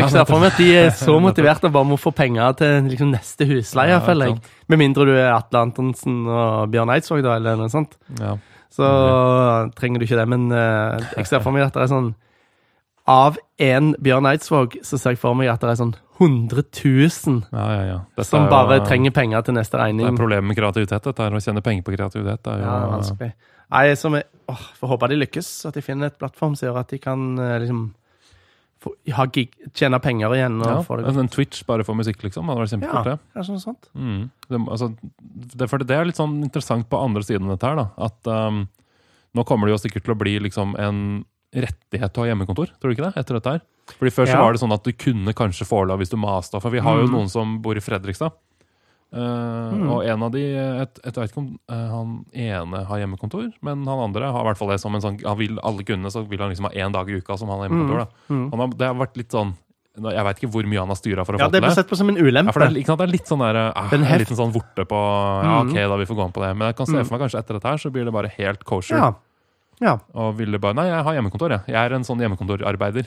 S1: Ja,
S2: jeg ser for meg at de er så motiverte og bare må få penger til liksom, neste husleie,
S1: Ja,
S2: føler
S1: sant.
S2: jeg. Med mindre du er Atle Antonsen og Bjørn Eidsvåg, da, eller noe sånt.
S1: Ja.
S2: Så trenger du ikke det. Men eh, jeg ser for meg at det er sånn Av én Bjørn Eidsvåg så ser jeg for meg at det er sånn 100 000
S1: Ja, ja, ja. Dette er
S2: som
S1: jo- eh,
S2: bare trenger penger til neste
S1: Det er
S2: regning.
S1: problemet med kreativitet, dette er å tjene penger på kreativitet. Det er jo,
S2: Ja, det er vanskelig. Nei, som jeg, åh, Får håpe de lykkes, at de finner et plattform som gjør at de kan eh, liksom få, ha gig, tjene penger igjen. Og
S1: Ja,
S2: få det
S1: altså, en Twitch bare for musikk, liksom. Det hadde vært
S2: Ja,
S1: kjempekult, det.
S2: kanskje noe sånt.
S1: Mm. Det, altså, det, for det er litt sånn interessant på andre siden av dette her, da. At um, nå kommer det jo sikkert til å bli liksom en rettighet til å ha hjemmekontor, tror du ikke det? Etter dette her. Fordi før så
S2: Ja.
S1: var det sånn at du kunne kanskje få lov hvis du masta, for vi har jo
S2: Mm.
S1: noen som bor i Fredrikstad. Eh, Og en av de et, et, Jeg vet ikke om eh, han ene har hjemmekontor, men han andre har i hvert fall det som en sånn Han vil alle kundene, så vil han liksom ha én dag i uka som han har hjemmekontor. Da.
S2: Mm.
S1: Han har, det har vært litt sånn Jeg veit ikke hvor mye han har styra for å
S2: Ja,
S1: få
S2: Det
S1: til det.
S2: blir sett på som en
S1: Ja,
S2: ulempe.
S1: for det er, ikke sant? det er litt sånn der, eh,
S2: Den
S1: en
S2: heft-
S1: liten sånn vorte på Ja,
S2: Mm.
S1: ok, da vi får gå an på det. Men jeg kan se for meg kanskje etter dette her så blir det bare helt kosher.
S2: Ja. ja.
S1: Og ville bare Nei, jeg har hjemmekontor, jeg. Jeg er en sånn hjemmekontorarbeider.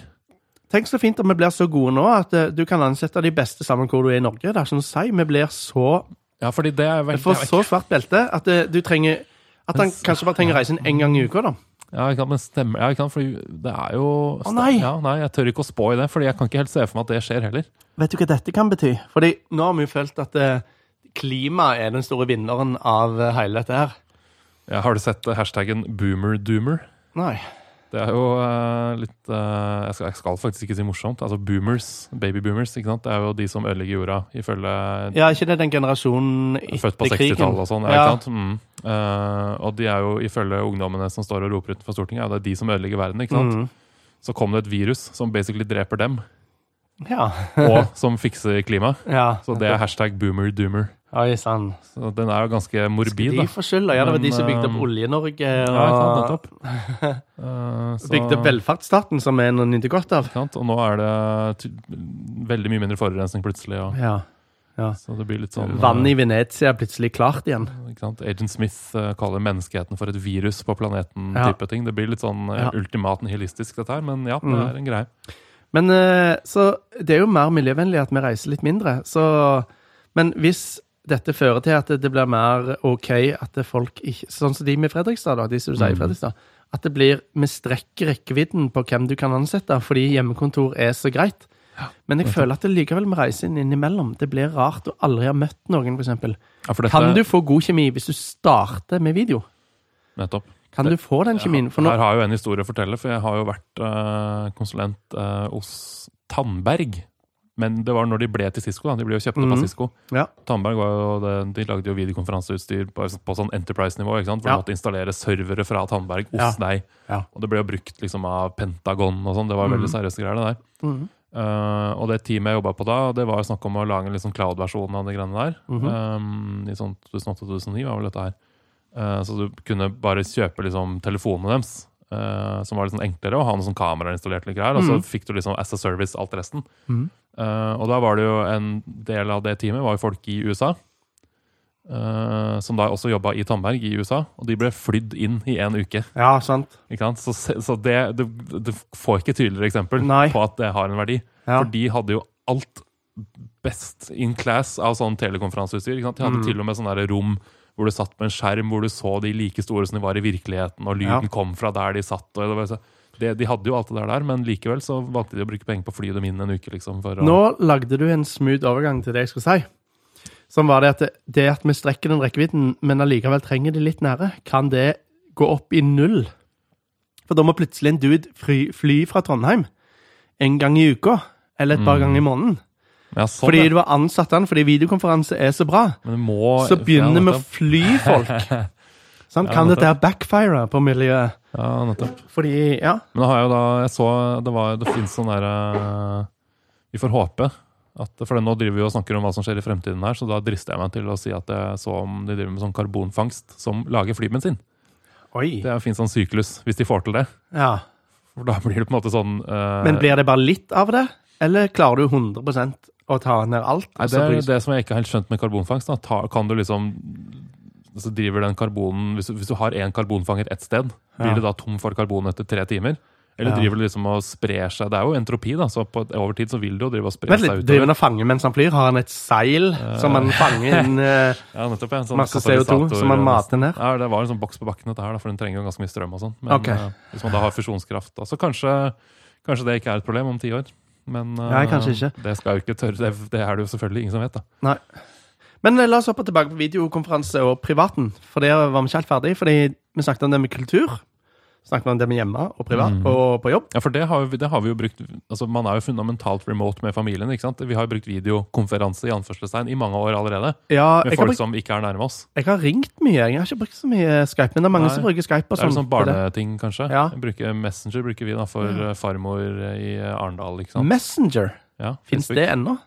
S2: Tenk så fint om vi blir så gode nå at eh, du kan ansette de beste sammen hvor du er i Norge. Det er ikke noe å si. Vi blir så
S1: Ja, fordi det er
S2: Vi
S1: veldig
S2: får så svart belte at eh, du trenger At han kanskje bare trenger reisen én gang i uka, da.
S1: Ja, ikke sant, men stemmer Ja, ikke sant, fordi det er jo
S2: Å, nei!
S1: Ja, nei, jeg tør ikke å spå i det, Fordi jeg kan ikke helt se for meg at det skjer heller.
S2: Vet du hva dette kan bety? Fordi nå har vi jo følt at eh, klimaet er den store vinneren av eh, hele dette her.
S1: Ja, har du sett eh, hashtaggen boomerdoomer?
S2: Nei.
S1: Det er jo eh, litt eh, jeg, skal, jeg skal faktisk ikke si morsomt. Altså boomers, babyboomers, ikke sant. Det er jo de som ødelegger jorda, ifølge
S2: Ja, er ikke det den generasjonen
S1: Født på
S2: etter krigen?
S1: 60-tallet og sånn. Ja.
S2: Ja.
S1: ikke sant? Mm. Eh, og de er jo ifølge ungdommene som står og roper utenfor Stortinget, er jo det de som ødelegger verden. ikke sant?
S2: Mm.
S1: Så kom det et virus som basically dreper dem,
S2: Ja.
S1: og som fikser klimaet.
S2: ja.
S1: Så det er hashtag boomerdoomer.
S2: Oi sann.
S1: Så den er jo ganske morbid,
S2: De
S1: da.
S2: får skylda. Ja, det var
S1: Men,
S2: de som bygde
S1: um,
S2: opp Olje-Norge og
S1: Ja, ikke sant? Nettopp. Eh, så-
S2: bygde opp velferdsstaten, som vi nå nyter godt av.
S1: Ikke sant? Og nå er det ty veldig mye mindre forurensning plutselig. Og,
S2: Ja.
S1: så det blir litt sånn eh,
S2: Vannet i Venezia er plutselig klart igjen.
S1: ikke sant? Agent Smith eh, kaller menneskeheten for et virus på
S2: Ja.
S1: planeten-type ting. Det blir litt sånn eh,
S2: Ja.
S1: ultimat nihilistisk, dette her, men ja, det
S2: Mm.
S1: er en greie.
S2: Men eh, så det er jo mer miljøvennlig at vi reiser litt mindre. Så, men hvis dette fører til at det blir mer OK at det folk ikke Sånn som de med Fredrikstad, da, de som du sier i
S1: Mhm.
S2: Fredrikstad. At det blir Vi strekker rekkevidden på hvem du kan ansette, fordi hjemmekontor er så greit. Men jeg føler at det likevel må reise inn innimellom. Det blir rart å aldri ha møtt noen, f.eks.
S1: Ja, for dette,
S2: Kan du få god kjemi hvis du starter med video?
S1: Nettopp.
S2: Kan du få den kjemien? For nå,
S1: Her har jeg jo en historie å fortelle, for jeg har jo vært eh, konsulent eh, hos Tandberg. Men det var når de ble til Cisco. Da. De ble jo kjøpt opp av
S2: Mhm.
S1: Cisco.
S2: Ja.
S1: Tandberg var jo det, de lagde jo videokonferanseutstyr på, på sånn Enterprise-nivå. ikke sant? Hvor
S2: Ja.
S1: du måtte installere servere fra Tandberg hos
S2: Ja.
S1: deg.
S2: Ja. Mm.
S1: Og det ble jo brukt liksom av Pentagon og sånn. Det var veldig seriøse greier, det der.
S2: Mhm.
S1: Eh, og det teamet jeg jobba på da, det var snakk om å lage en liksom cloud-versjon av de greiene der. Eh, I sånn 2008-2009 var vel dette her. Eh, så du kunne bare kjøpe liksom, telefonene deres, eh, som var litt sånn enklere, og ha noe sånn kamera installert. litt greier, Og så fikk du liksom as a service alt resten.
S2: Mhm.
S1: Eh, og da var det jo en del av det teamet var jo folk i USA. eh, som da også jobba i Tandberg i USA, og de ble flydd inn i én uke.
S2: ja, sant.
S1: Ikke sant? Så, se- så det, du, du får ikke tydeligere eksempel
S2: Nei.
S1: på at det har en verdi.
S2: Ja.
S1: For de hadde jo alt best in class av sånn telekonferanseutstyr. Ikke sant? De hadde
S2: Mm.
S1: til og med sånne der rom hvor du satt på en skjerm hvor du så de like store som de var i virkeligheten, og lyden
S2: Ja.
S1: kom fra der de satt. Og det var så, det, de hadde jo alt det der der, men likevel så valgte de å bruke penger på å fly dem inn en uke. liksom. For å,
S2: Nå lagde du en smooth overgang til det jeg skulle si. Som var det at, det at vi strekker den rekkevidden, men allikevel trenger de litt nære, kan det gå opp i null? For da må plutselig en
S1: Mm.
S2: dude fly, fly fra Trondheim en gang i uka, eller et par ganger i måneden.
S1: Ja, sånn,
S2: Fordi
S1: ja.
S2: du har ansatt den fordi videokonferanse er så bra.
S1: Men det må,
S2: Så begynner vi å
S1: nettopp.
S2: fly folk. Sant?
S1: Ja, nettopp.
S2: Kan dette her backfire på miljøet?
S1: Ja, nettopp.
S2: Fordi, ja.
S1: Men da har jeg jo da Jeg så det, var, det finnes sånn derre Vi får håpe. At, for nå driver vi og snakker om hva som skjer i fremtiden her, så da drister jeg meg til å si at jeg så om de driver med sånn karbonfangst som lager flybensin.
S2: Oi.
S1: Det fins sånn syklus, hvis de får til det.
S2: Ja.
S1: For da blir det på en måte sånn eh,
S2: Men blir det bare litt av det, eller klarer du 100 å ta ned alt?
S1: Nei, det
S2: Så
S1: er
S2: blir-
S1: det som jeg ikke har helt skjønt med karbonfangst. Da. Ta, kan du liksom så driver den karbonen, hvis, du- hvis du har én karbonfanger ett sted, blir
S2: Ja.
S1: det da tom for karbon etter tre timer? Eller
S2: Ja.
S1: driver det liksom og sprer seg? Det er jo entropি, da, så på, over tid så vil det jo drive og spre
S2: Vent
S1: seg
S2: litt, driver
S1: utover.
S2: han og fanger mens han flyr? Har han et seil som han fanger inn eh,
S1: Ja, nettopp, ja, en sånn
S2: masse CO2
S1: katalysator-
S2: som han mater ned?
S1: Ja, det var en sånn boks på bakken, dette her, da, for den trenger jo ganske mye strøm og sånn. Men
S2: Ok.
S1: eh, hvis man da har fusjonskraft, da, så kanskje, kanskje det ikke er et problem om ti år. Men eh,
S2: Nei, kanskje
S1: det skal jo ikke tørre, det, det er det jo selvfølgelig ingen som vet, da.
S2: Nei. Men eh, la oss hoppe tilbake på videokonferanse og privaten. For der var vi ikke helt ferdig, fordi vi snakket om det med kultur. Snakket vi om det med hjemme og privat
S1: Mm.
S2: og på jobb.
S1: Ja, for det har, vi, det har vi jo brukt altså Man er jo fundamentalt remote med familien. ikke sant? Vi har jo brukt videokonferanse i anførselstegn i mange år allerede.
S2: Ja,
S1: Med
S2: jeg har,
S1: folk
S2: brukt,
S1: som ikke er nærme oss.
S2: jeg har ringt mye. Jeg har ikke brukt så mye Skype, men det er mange
S1: Nei.
S2: som bruker Skype. og
S1: Det er jo
S2: sånn
S1: sånn
S2: for det.
S1: barneting, kanskje.
S2: Ja.
S1: Bruker Messenger bruker vi da for eh, farmor eh, i eh, Arendal. ikke sant?
S2: Messenger.
S1: Ja,
S2: Fins
S1: Facebook.
S2: Mm. det ennå?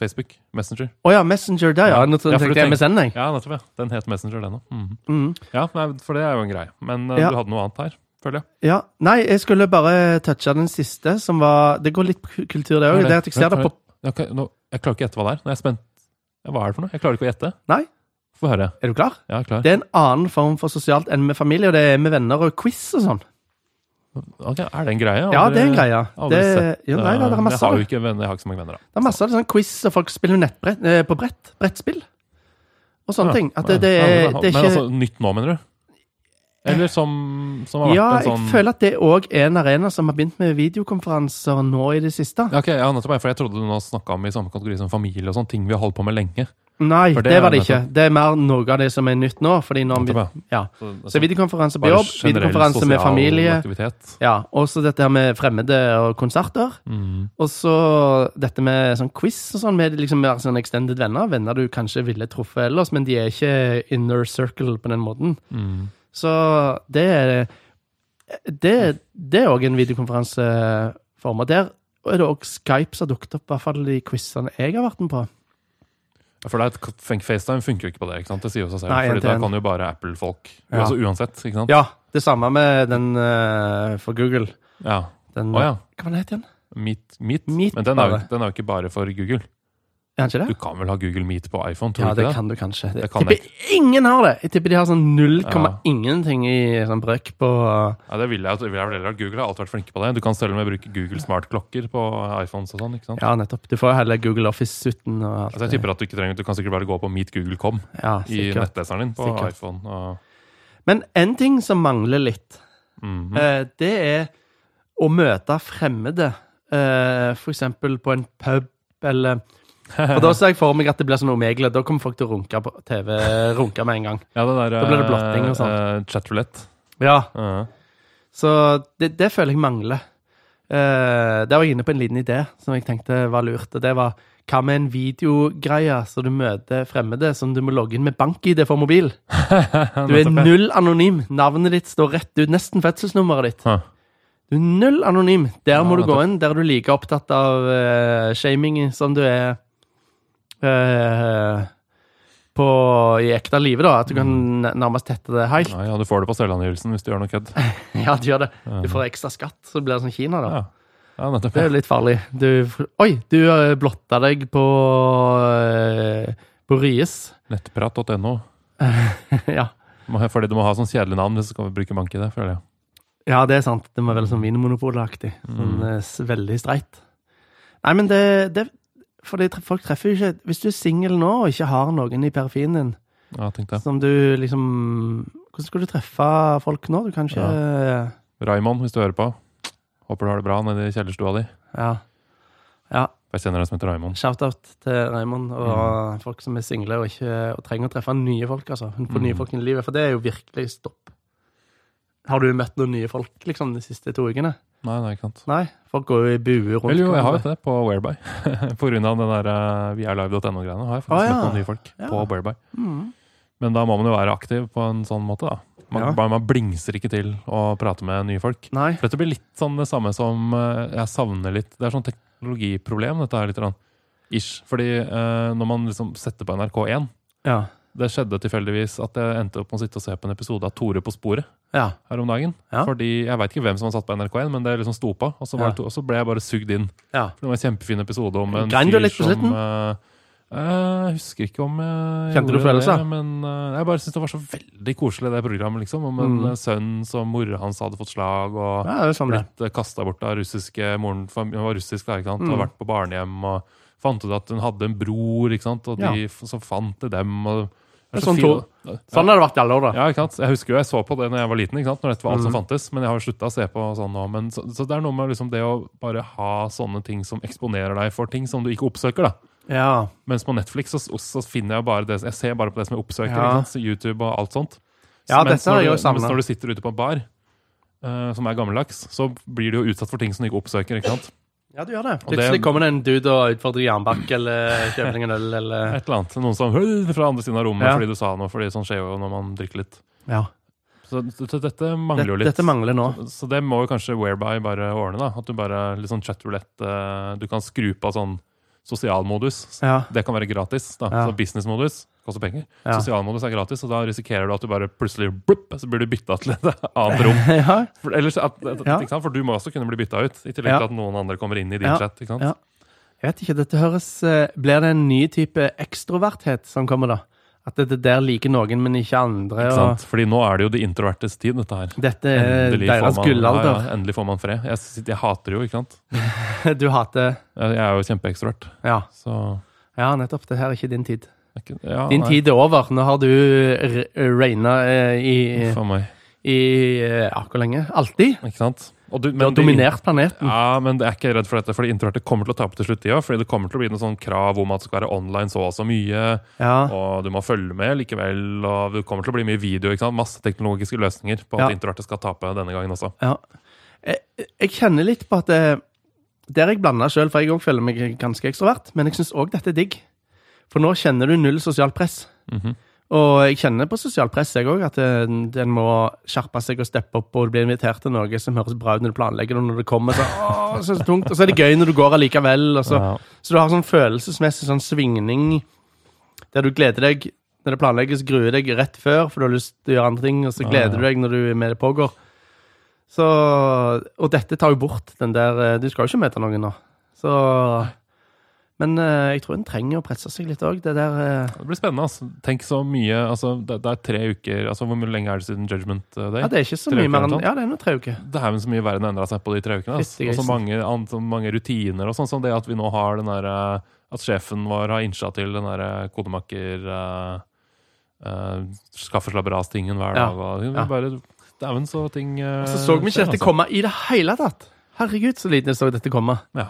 S1: Facebook. Messenger.
S2: Å ja, Messenger der, ja.
S1: Ja.
S2: Nå
S1: Ja,
S2: tenkte
S1: for du
S2: jeg MSN, jeg.
S1: Ja, nettopp. ja. Den het Messenger, den òg. Mhm.
S2: Mm.
S1: Ja, nei, for det er jo en greie. Men eh,
S2: Ja.
S1: du hadde noe annet her, føler jeg.
S2: Ja, Nei, jeg skulle bare touche den siste, som var Det går litt på ku- kultur, det
S1: Hva er
S2: òg.
S1: det?
S2: Det er at jeg ser
S1: Vent,
S2: det på
S1: Jeg, kan- nå, jeg klarer ikke å gjette hva det er. Nå er jeg spent. Ja, Hva er det for noe? Jeg klarer ikke å gjette.
S2: Nei.
S1: Få høre.
S2: Er du klar?
S1: Ja, klar.
S2: Det er en annen form for sosialt enn med familie, og det er med venner og quiz og sånn.
S1: Ok, er det en greie?
S2: Ja, det er en
S1: Aldri-
S2: greie.
S1: Aldri
S2: Det,
S1: sett
S2: ja, nei, det er
S1: jeg
S2: masse
S1: har
S2: av
S1: jo
S2: det.
S1: ikke venner, jeg har ikke så mange venner. da.
S2: Det er masse av det sånn quiz, og folk spiller jo nettbrett, eh, på brett. Brettspill. Og sånne ting. At det, det, er, det er
S1: Men altså,
S2: ikke
S1: nytt nå, mener du? Eller som, som har vært
S2: Ja,
S1: en
S2: jeg
S1: sånn
S2: føler at det òg er en arena som har begynt med videokonferanser nå i det siste.
S1: Ja, ok, ja, nettopp, for Jeg trodde du nå snakka om i samme kategori som familie og sånn, ting vi har holdt på med lenge.
S2: Nei,
S1: For
S2: det,
S1: det er
S2: var det ikke.
S1: nettopp-
S2: Det er mer noe av det som er nytt nå. fordi nå har vi-
S1: Nettopp,
S2: ja.
S1: Så,
S2: Så videokonferanse på
S1: sånn. bare
S2: jobb,
S1: generell
S2: videokonferanse
S1: sosial
S2: med familie.
S1: Aktivitet.
S2: Ja, Og så dette her med fremmede og konserter.
S1: Mm.
S2: Og så dette med sånn quiz og sånn, med liksom mer sånn extended venner. Venner du kanskje ville truffet ellers, men de er ikke inner circle på den måten.
S1: Mm.
S2: Så det er Det, det er òg en videokonferanseform. Og der er det òg Skype som har dukket opp, i hvert fall i quizene jeg har vært med på.
S1: Ja, For det er et, fun- FaceTime funker jo ikke på det. ikke sant? Det sier jo seg selv.
S2: Nei, en
S1: Fordi
S2: til
S1: da
S2: en.
S1: kan jo bare Apple-folk
S2: Ja.
S1: altså uansett. ikke sant?
S2: Ja, det samme med den eh, for Google.
S1: Ja.
S2: Den,
S1: Å ja.
S2: Hva var den het igjen?
S1: Meet, meet.
S2: Meet
S1: Men den er, jo,
S2: bare.
S1: den er jo ikke bare for Google.
S2: Er den ikke det?
S1: Du kan vel ha Google Meet på iPhone? tror
S2: Ja,
S1: du ikke
S2: det kan du kanskje. Jeg
S1: Det kan
S2: tipper ingen har det! Jeg tipper de har sånn null komma
S1: Ja.
S2: ingenting i sånn brøk på eh,
S1: Ja, det vil jeg, det vil jeg vel heller ha. Google har alltid vært flinke på det. Du kan selv om jeg bruker Google smartklokker på iPhones og sånn. ikke sant?
S2: Ja, nettopp. Du får jo hele Google Office-suiten og alt.
S1: Altså, jeg tipper at Du ikke trenger, du kan sikkert bare gå på meetgoogle.com
S2: ja,
S1: i
S2: sikkert.
S1: nettleseren din på
S2: Sikkert.
S1: iPhone. Og,
S2: Men en ting som mangler litt,
S1: Mhm.
S2: eh, det er å møte fremmede. Eh, for eksempel på en pub eller Eh, Og da ser jeg for meg at det blir sånn omegle. Da kommer folk til å runke på TV runke med en gang.
S1: ja, det der, eh,
S2: Da blir det blotting og sånn. sånt.
S1: Chatroulette.
S2: Ja, Så det, det føler jeg mangler. Eh, der var jeg inne på en liten idé som jeg tenkte var lurt. Og det var hva med en videogreie så du møter fremmede som du må logge inn med bank-ID for mobil? Du er null anonym. Navnet ditt står rett ut. Nesten fødselsnummeret ditt.
S1: Hæ.
S2: Du er null anonym. Der må
S1: Ja,
S2: du gå inn, der er du like opptatt av eh, shaming som du er eh, på, i ekte livet, da. At du kan nærmest tette det helt.
S1: Ja, ja, du får det på selvangivelsen hvis du gjør noe kødd. Eh.
S2: Ja, du gjør det. Du får ekstra skatt, så det blir sånn Kina, da.
S1: Ja. Ja, nettopp.
S2: Det er jo litt farlig. Du, oi, du eh, blotta deg på eh, på Ryes.
S1: Nettprat.no.
S2: ja.
S1: Må ha- Fordi du må ha sånn kjedelig navn hvis du skal bruke bank i det. føler jeg.
S2: ja, det er sant. Det må være sånn Vinmonopol-aktig. Sånn, eh, s- veldig streit. Nei, men det, det For det, tre- folk treffer jo ikke Hvis du er singel nå og ikke har noen i periferien din,
S1: Ja, tenkte jeg.
S2: som du liksom Hvordan skal du treffe folk nå? Du kan ikke eh, Ja.
S1: Raymond, hvis du hører på. Håper du har det bra nede i kjellerstua di.
S2: ja.
S1: Jeg kjenner en som heter Raymond.
S2: Shout-out til Raymond og folk som er single
S1: Mm.
S2: og, ikke, og trenger å treffe nye folk. altså. Hun får nye folk inn i livet, for det er jo virkelig stopp. Har du møtt noen nye folk liksom, de siste to ukene?
S1: Nei, nei, ikke sant.
S2: Nei, folk går jo i buer rundt.
S1: Vel, jo, jeg har jo
S2: hverandre.
S1: det på Whereby. på grunn av den der eh, vialive.no-greiene har jeg faktisk
S2: Å, ja.
S1: møtt noen nye folk
S2: Ja.
S1: på Whereby.
S2: Mhm.
S1: Men da må man jo være aktiv på en sånn måte, da. Man,
S2: Ja.
S1: bare, man blingser ikke til å prate med nye folk.
S2: Nei,
S1: For dette blir litt sånn det samme som eh, jeg savner litt Det er sånn teknologiproblem, dette her, litt. grann. Ish. Fordi eh, når man liksom setter på NRK1
S2: ja.
S1: Det skjedde tilfeldigvis at jeg endte opp med å sitte og se på en episode av Tore på sporet
S2: Ja,
S1: her om dagen.
S2: Ja.
S1: Fordi Jeg veit ikke hvem som har satt på NRK1, men det liksom sto på. Og så, var
S2: Ja.
S1: det to, og så ble jeg bare sugd inn.
S2: ja.
S1: For det var en kjempefin episode om en
S2: Grein du litt på
S1: som eh, eh, Jeg husker ikke om jeg
S2: Kjente du
S1: gjorde
S2: følelser?
S1: det, Men eh, jeg bare syntes det var så veldig koselig, det programmet. liksom Om en
S2: Mm.
S1: eh, sønn som mora hans hadde fått slag, og
S2: ja det er sånn det.
S1: blitt kasta bort av russiske moren fam- Hun var russisk, da, ikke sant? og
S2: Mm.
S1: vært på barnehjem. og Fant ut at hun hadde en bror, ikke sant? og de f- som fant til dem. og
S2: Det er
S1: så
S2: sånn
S1: fin-
S2: Sånn har det vært i alle år, da.
S1: ja, ikke sant? Jeg husker jo jeg så på det når jeg var liten, ikke sant? når dette var alt som
S2: Mhm.
S1: fantes. Men jeg har slutta å se på sånn nå. Men så, så det er noe med liksom det å bare ha sånne ting som eksponerer deg for ting som du ikke oppsøker. da.
S2: Ja.
S1: Mens på Netflix så, så finner jeg bare det, jeg ser bare på det som jeg oppsøker.
S2: Ja.
S1: Ikke sant? Så YouTube og alt sånt.
S2: Ja,
S1: Mens
S2: dette
S1: når
S2: har
S1: du-
S2: jeg jo savnet.
S1: Mens når du sitter ute på en bar, eh, som er gammeldags, så blir du jo utsatt for ting som du ikke oppsøker. ikke sant?
S2: ja, du gjør det.
S1: Og det-
S2: Plutselig kommer det en dude og utfordrer jernbakke eller kjøper deg en øl eller
S1: Et eller annet. Noen som «Høy!» fra andre siden av rommet
S2: Ja.
S1: fordi du sa noe. fordi sånn skjer jo når man drikker litt.
S2: Ja.
S1: Så dette, dette mangler jo
S2: Dette,
S1: litt.
S2: dette mangler nå.
S1: Så det må jo kanskje Whereby bare ordne, da. At du bare litt sånn chatroulette eh, Du kan skru på sånn sosialmodus.
S2: Ja.
S1: Det kan være gratis. da,
S2: Ja.
S1: så Businessmodus koster penger.
S2: Ja.
S1: Sosialmodus er gratis, og da risikerer du at du bare plutselig blupp, så blir du bytta til et annet rom.
S2: ja.
S1: For, ellers, at, at,
S2: Ja.
S1: ikke sant? For du må også kunne bli bytta ut, i tillegg
S2: Ja.
S1: til at noen andre kommer inn i din
S2: Ja.
S1: chat. ikke sant?
S2: Ja. Jeg vet ikke, dette høres eh, Blir det en ny type ekstroverthet som kommer, da? At dette der liker noen, men ikke andre?
S1: Ikke
S2: Og
S1: sant? Fordi nå er det jo de introvertes tid, dette her.
S2: dette Eh, er
S1: får
S2: deres
S1: man- Ja,
S2: gullalder.
S1: ja, endelig får man fred. Jeg, sitter- jeg hater det jo, ikke sant.
S2: Du hater
S1: Jeg, jeg er jo kjempeekstrovert.
S2: Ja,
S1: Så
S2: ja nettopp. Det her er ikke din tid.
S1: det er ikke- ja,
S2: Din
S1: nei,
S2: tid er over. Nå har du regna i,
S1: For meg.
S2: i eh, Ja, hvor lenge? Alltid.
S1: Ikke sant? Og du,
S2: Du har
S1: de-
S2: dominert planeten.
S1: Ja, men jeg er ikke redd for dette, fordi introverte kommer til å tape til slutt. Ja, fordi det kommer til å bli noen sånn krav om at det skal være online så og så mye,
S2: Ja.
S1: og du må følge med likevel, og det kommer til å bli mye video. ikke sant? Masse teknologiske løsninger på at
S2: Ja.
S1: introverte skal tape denne gangen også.
S2: ja. Jeg, jeg kjenner litt på at eh, Der jeg blanda sjøl, for jeg òg føler meg ganske ekstrovert, men jeg syns òg dette er digg. For nå kjenner du null sosialt press.
S1: Mhm.
S2: Og jeg kjenner på sosialt press, jeg òg, at eh, en må skjerpe seg og steppe opp og bli invitert til noe som høres bra ut når du planlegger det, og når det kommer. Så, åh, så er det tungt. Og så er det gøy når du går allikevel. Og så,
S1: Ja.
S2: så du har sånn følelsesmessig sånn svingning der du gleder deg når det planlegges, gruer deg rett før, for du har lyst til å gjøre andre ting, og så
S1: Ja,
S2: gleder
S1: ja.
S2: du deg når du er med det pågår. Så, og dette tar jo bort den der eh, Du skal jo ikke møte noen nå. Så Men eh, jeg tror en trenger å presse seg litt òg. Det der eh,
S1: Det blir spennende. altså. Tenk så mye altså, det, det er tre uker altså Hvor mye lenge er det siden Judgment eh, Day?
S2: Ja, det er ikke så
S1: Tre
S2: mye
S1: uker
S2: mer enn
S1: eller noe
S2: Ja, det er nå tre uker.
S1: Det er vel så mye verden endra seg på de tre ukene. Altså.
S2: Fytti
S1: Og så
S2: grisen.
S1: mange, an- så mange rutiner og sånn som det at vi nå har den derre At sjefen vår har innsa til den derre kodemaker eh, uh, Skaffeslabberas-tingen hver
S2: Ja.
S1: dag. Og, vi
S2: Ja.
S1: bare, Dæven, så ting eh,
S2: Så så vi ikke
S1: skjer,
S2: dette
S1: altså.
S2: komme i det hele tatt. Herregud, så lite jeg så dette komme.
S1: Ja.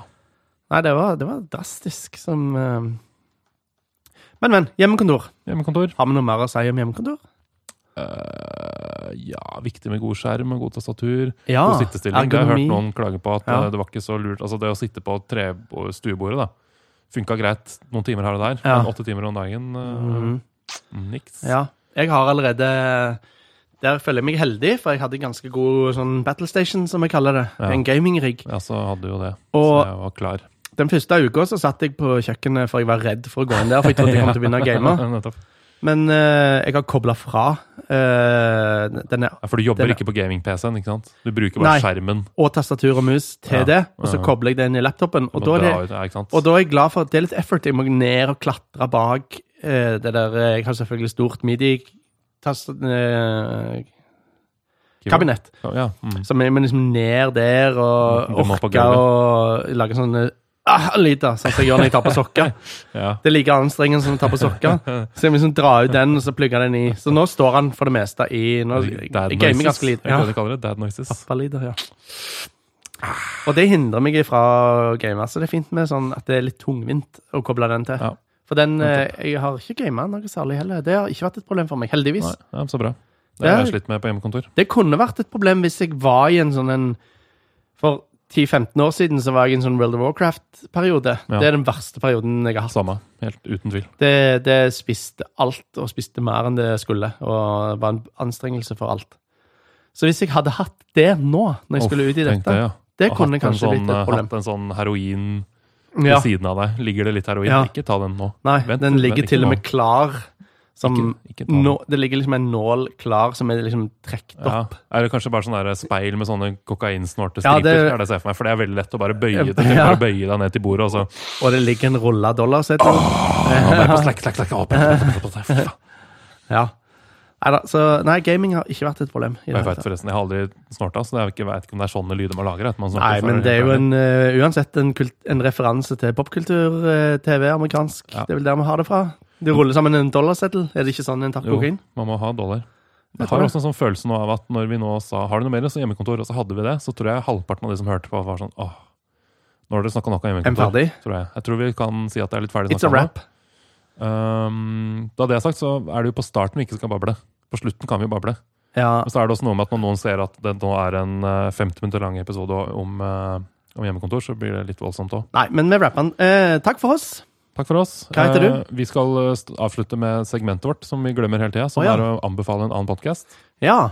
S2: Nei, det var, det var drastisk som eh. Men, men. Hjemmekontor.
S1: Hjemmekontor.
S2: Har vi noe mer å si om hjemmekontor?
S1: Eh, ja, viktig med god skjerm og god tastatur.
S2: Ja.
S1: God sittestilling. Det har jeg hørt
S2: Ah, ergonomi.
S1: noen klage på at
S2: Ja.
S1: eh, det var ikke så lurt. Altså det å sitte på tre stuebordet da funka greit noen timer her og der,
S2: Ja.
S1: men åtte timer om dagen eh,
S2: Mhm.
S1: niks.
S2: Ja. Jeg har allerede Der føler jeg meg heldig, for jeg hadde ganske god sånn battle station, som jeg kaller det.
S1: Ja.
S2: En gaming-rigg.
S1: Ja, så hadde jo det. så
S2: Og
S1: jeg var klar.
S2: den første uka så satt jeg på kjøkkenet, for jeg var redd for å gå inn der, for jeg trodde jeg kom til å begynne å game.
S1: Nettopp.
S2: Men eh, jeg har kobla fra eh, denne
S1: Ja, for du jobber
S2: Den-
S1: ikke på gaming-PC-en, ikke sant? Du bruker bare
S2: Nei.
S1: skjermen.
S2: og tastatur og mus til
S1: Ja,
S2: det, og så
S1: ja.
S2: kobler jeg det inn i laptopen.
S1: Du
S2: Og
S1: må
S2: da, er
S1: dra ut,
S2: det,
S1: ja, ikke sant?
S2: og da er jeg glad for at det er litt effort. Jeg må ned og klatre bak eh, det der eh, Jeg har selvfølgelig stort midi-kabinett.
S1: Ja, mm.
S2: Så jeg må liksom ned der og
S1: Du må på
S2: orke å lage sånne ah, lyder, sånn som jeg gjør når jeg tar på sokker.
S1: ja.
S2: Det er like anstrengende som å ta på sokker. Så jeg må liksom dra ut den, og så plugge den i. Så nå står han for det meste i Nå jeg
S1: Dad
S2: gamer
S1: noises.
S2: ganske
S1: Jeg
S2: lite. Ja.
S1: kan jo kalle det dad noises.
S2: Pappalyder, ja. Og det hindrer meg ifra å game. Så det er fint med sånn at det er litt tungvint å koble den til.
S1: Ja.
S2: For den eh, Jeg har ikke gama noe særlig heller. Det har ikke vært et problem for meg, heldigvis.
S1: Nei, ja, så bra. Det har
S2: Ja.
S1: jeg slitt med på hjemmekontor.
S2: Det kunne vært et problem hvis jeg var i en sånn en For 10-15 år siden så var jeg i en sånn World of Warcraft-periode.
S1: Ja.
S2: Det er den verste perioden jeg har hatt.
S1: Samme, helt uten tvil.
S2: Det, det spiste alt, og spiste mer enn det skulle, og var en anstrengelse for alt. Så hvis jeg hadde hatt det nå, når jeg
S1: Uff,
S2: skulle ut i
S1: tenkte
S2: dette
S1: jeg, ja.
S2: Det
S1: Og
S2: kunne
S1: hatt en
S2: kanskje blitt
S1: sånn,
S2: et problem.
S1: Hatt en sånn heroin
S2: Ja.
S1: ved siden av deg. Ligger det litt heroin?
S2: Ja.
S1: Ikke ta den nå.
S2: Nei,
S1: Vent,
S2: den
S1: vent,
S2: ligger
S1: ikke
S2: til
S1: nå.
S2: og med klar. Som
S1: Ikke- ikke ta den.
S2: nå- det ligger liksom en nål klar som er liksom trukket
S1: Ja.
S2: opp.
S1: Er det kanskje bare sånn der speil med sånne kokainsnorte
S2: Ja,
S1: striper?
S2: det-
S1: er det jeg ser for meg, For det er veldig lett å bare bøye det,
S2: Ja.
S1: bare bøye deg ned til bordet, og så
S2: Og det ligger en rulla dollarseddel.
S1: Ja, bare på slekk, slekk, slekk, å, på- på- på- på- på- faen.
S2: Ja. Neida, så nei, gaming har ikke vært et problem. i det
S1: Jeg
S2: hele
S1: vet
S2: tatt.
S1: forresten, jeg har aldri snorta, så jeg vet ikke, vet ikke om det er sånne lyder man lager. at Man snorter,
S2: Nei,
S1: for å
S2: men
S1: være
S2: det er
S1: helt
S2: jo
S1: ærlig.
S2: en, eh, uansett en, kult, en referanse til popkultur-TV amerikansk.
S1: Ja.
S2: Det er vel der vi har det fra. Du ruller sammen en dollarseddel. Er det ikke sånn
S1: Jo,
S2: en takker inn?
S1: man må ha dollar. Jeg
S2: Jeg tror
S1: har
S2: det.
S1: også en sånn følelse nå av at når vi nå sa har du noe mer, så hjemmekontor, og så hadde vi det, så tror jeg halvparten av de som hørte på, var sånn åh, nå har dere snakka nok om
S2: En
S1: hjemmekontor.
S2: ferdig?
S1: Tror jeg. jeg tror vi kan si at det er litt ferdig
S2: It's
S1: snakket
S2: a
S1: om
S2: wrap.
S1: nå. Um, da det er sagt, så er det jo på starten vi ikke skal bable. På slutten kan vi jo bable.
S2: Ja.
S1: Men så er det også noe med at når noen ser at det nå er en eh, 50 minutter lang episode om, eh, om hjemmekontor, så blir det litt voldsomt òg.
S2: Nei, men vi rapper den. Eh, takk for oss.
S1: Takk for oss.
S2: Hva heter du?
S1: Eh, Vi skal eh, st- avslutte med segmentet vårt, som vi glemmer hele tida. Som
S2: Å, ja.
S1: er å anbefale en annen podkast.
S2: Ja.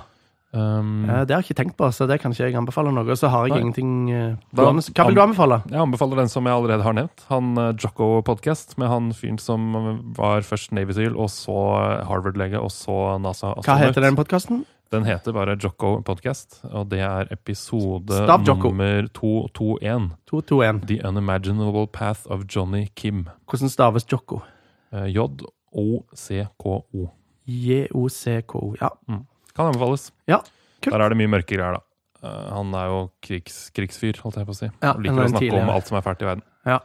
S1: Um,
S2: eh, det har jeg ikke tenkt på, så det kan ikke jeg anbefale noe. Så har jeg
S1: Nei.
S2: ingenting eh,
S1: Da-
S2: på annet. Hva vil du anbefale?
S1: jeg anbefaler den som jeg allerede har nevnt. Han eh, Jocko Podcast med han fyren som var først Navy Seal, og så Harvard-lege, og så NASA.
S2: Hva
S1: astronaut.
S2: heter den podkasten?
S1: Den heter bare Jocko Podcast, og det er episode
S2: Stav Jocko.
S1: nummer 221.
S2: 221.
S1: The Unimaginable Path of Johnny Kim.
S2: Hvordan staves Jocko?
S1: Eh, J-O-C-K-O.
S2: J-O-C-K-O. Ja.
S1: Kan anbefales.
S2: ja. Kult.
S1: Der er det mye mørke greier, da. Eh, han er jo krigs, krigsfyr, holdt jeg på å si.
S2: Ja,
S1: Og liker
S2: han er
S1: å
S2: en
S1: snakke
S2: tidligere.
S1: om alt som er fælt i verden.
S2: Ja.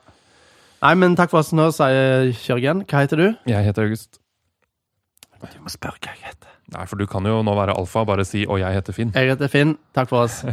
S2: Nei, men takk for oss. Nå sier Kjørgen. Hva heter du?
S1: Jeg heter August.
S2: Du må spørre hva jeg heter.
S1: Nei, for du kan jo nå være alfa, bare si 'og jeg heter Finn'.
S2: Jeg heter Finn. Takk for oss.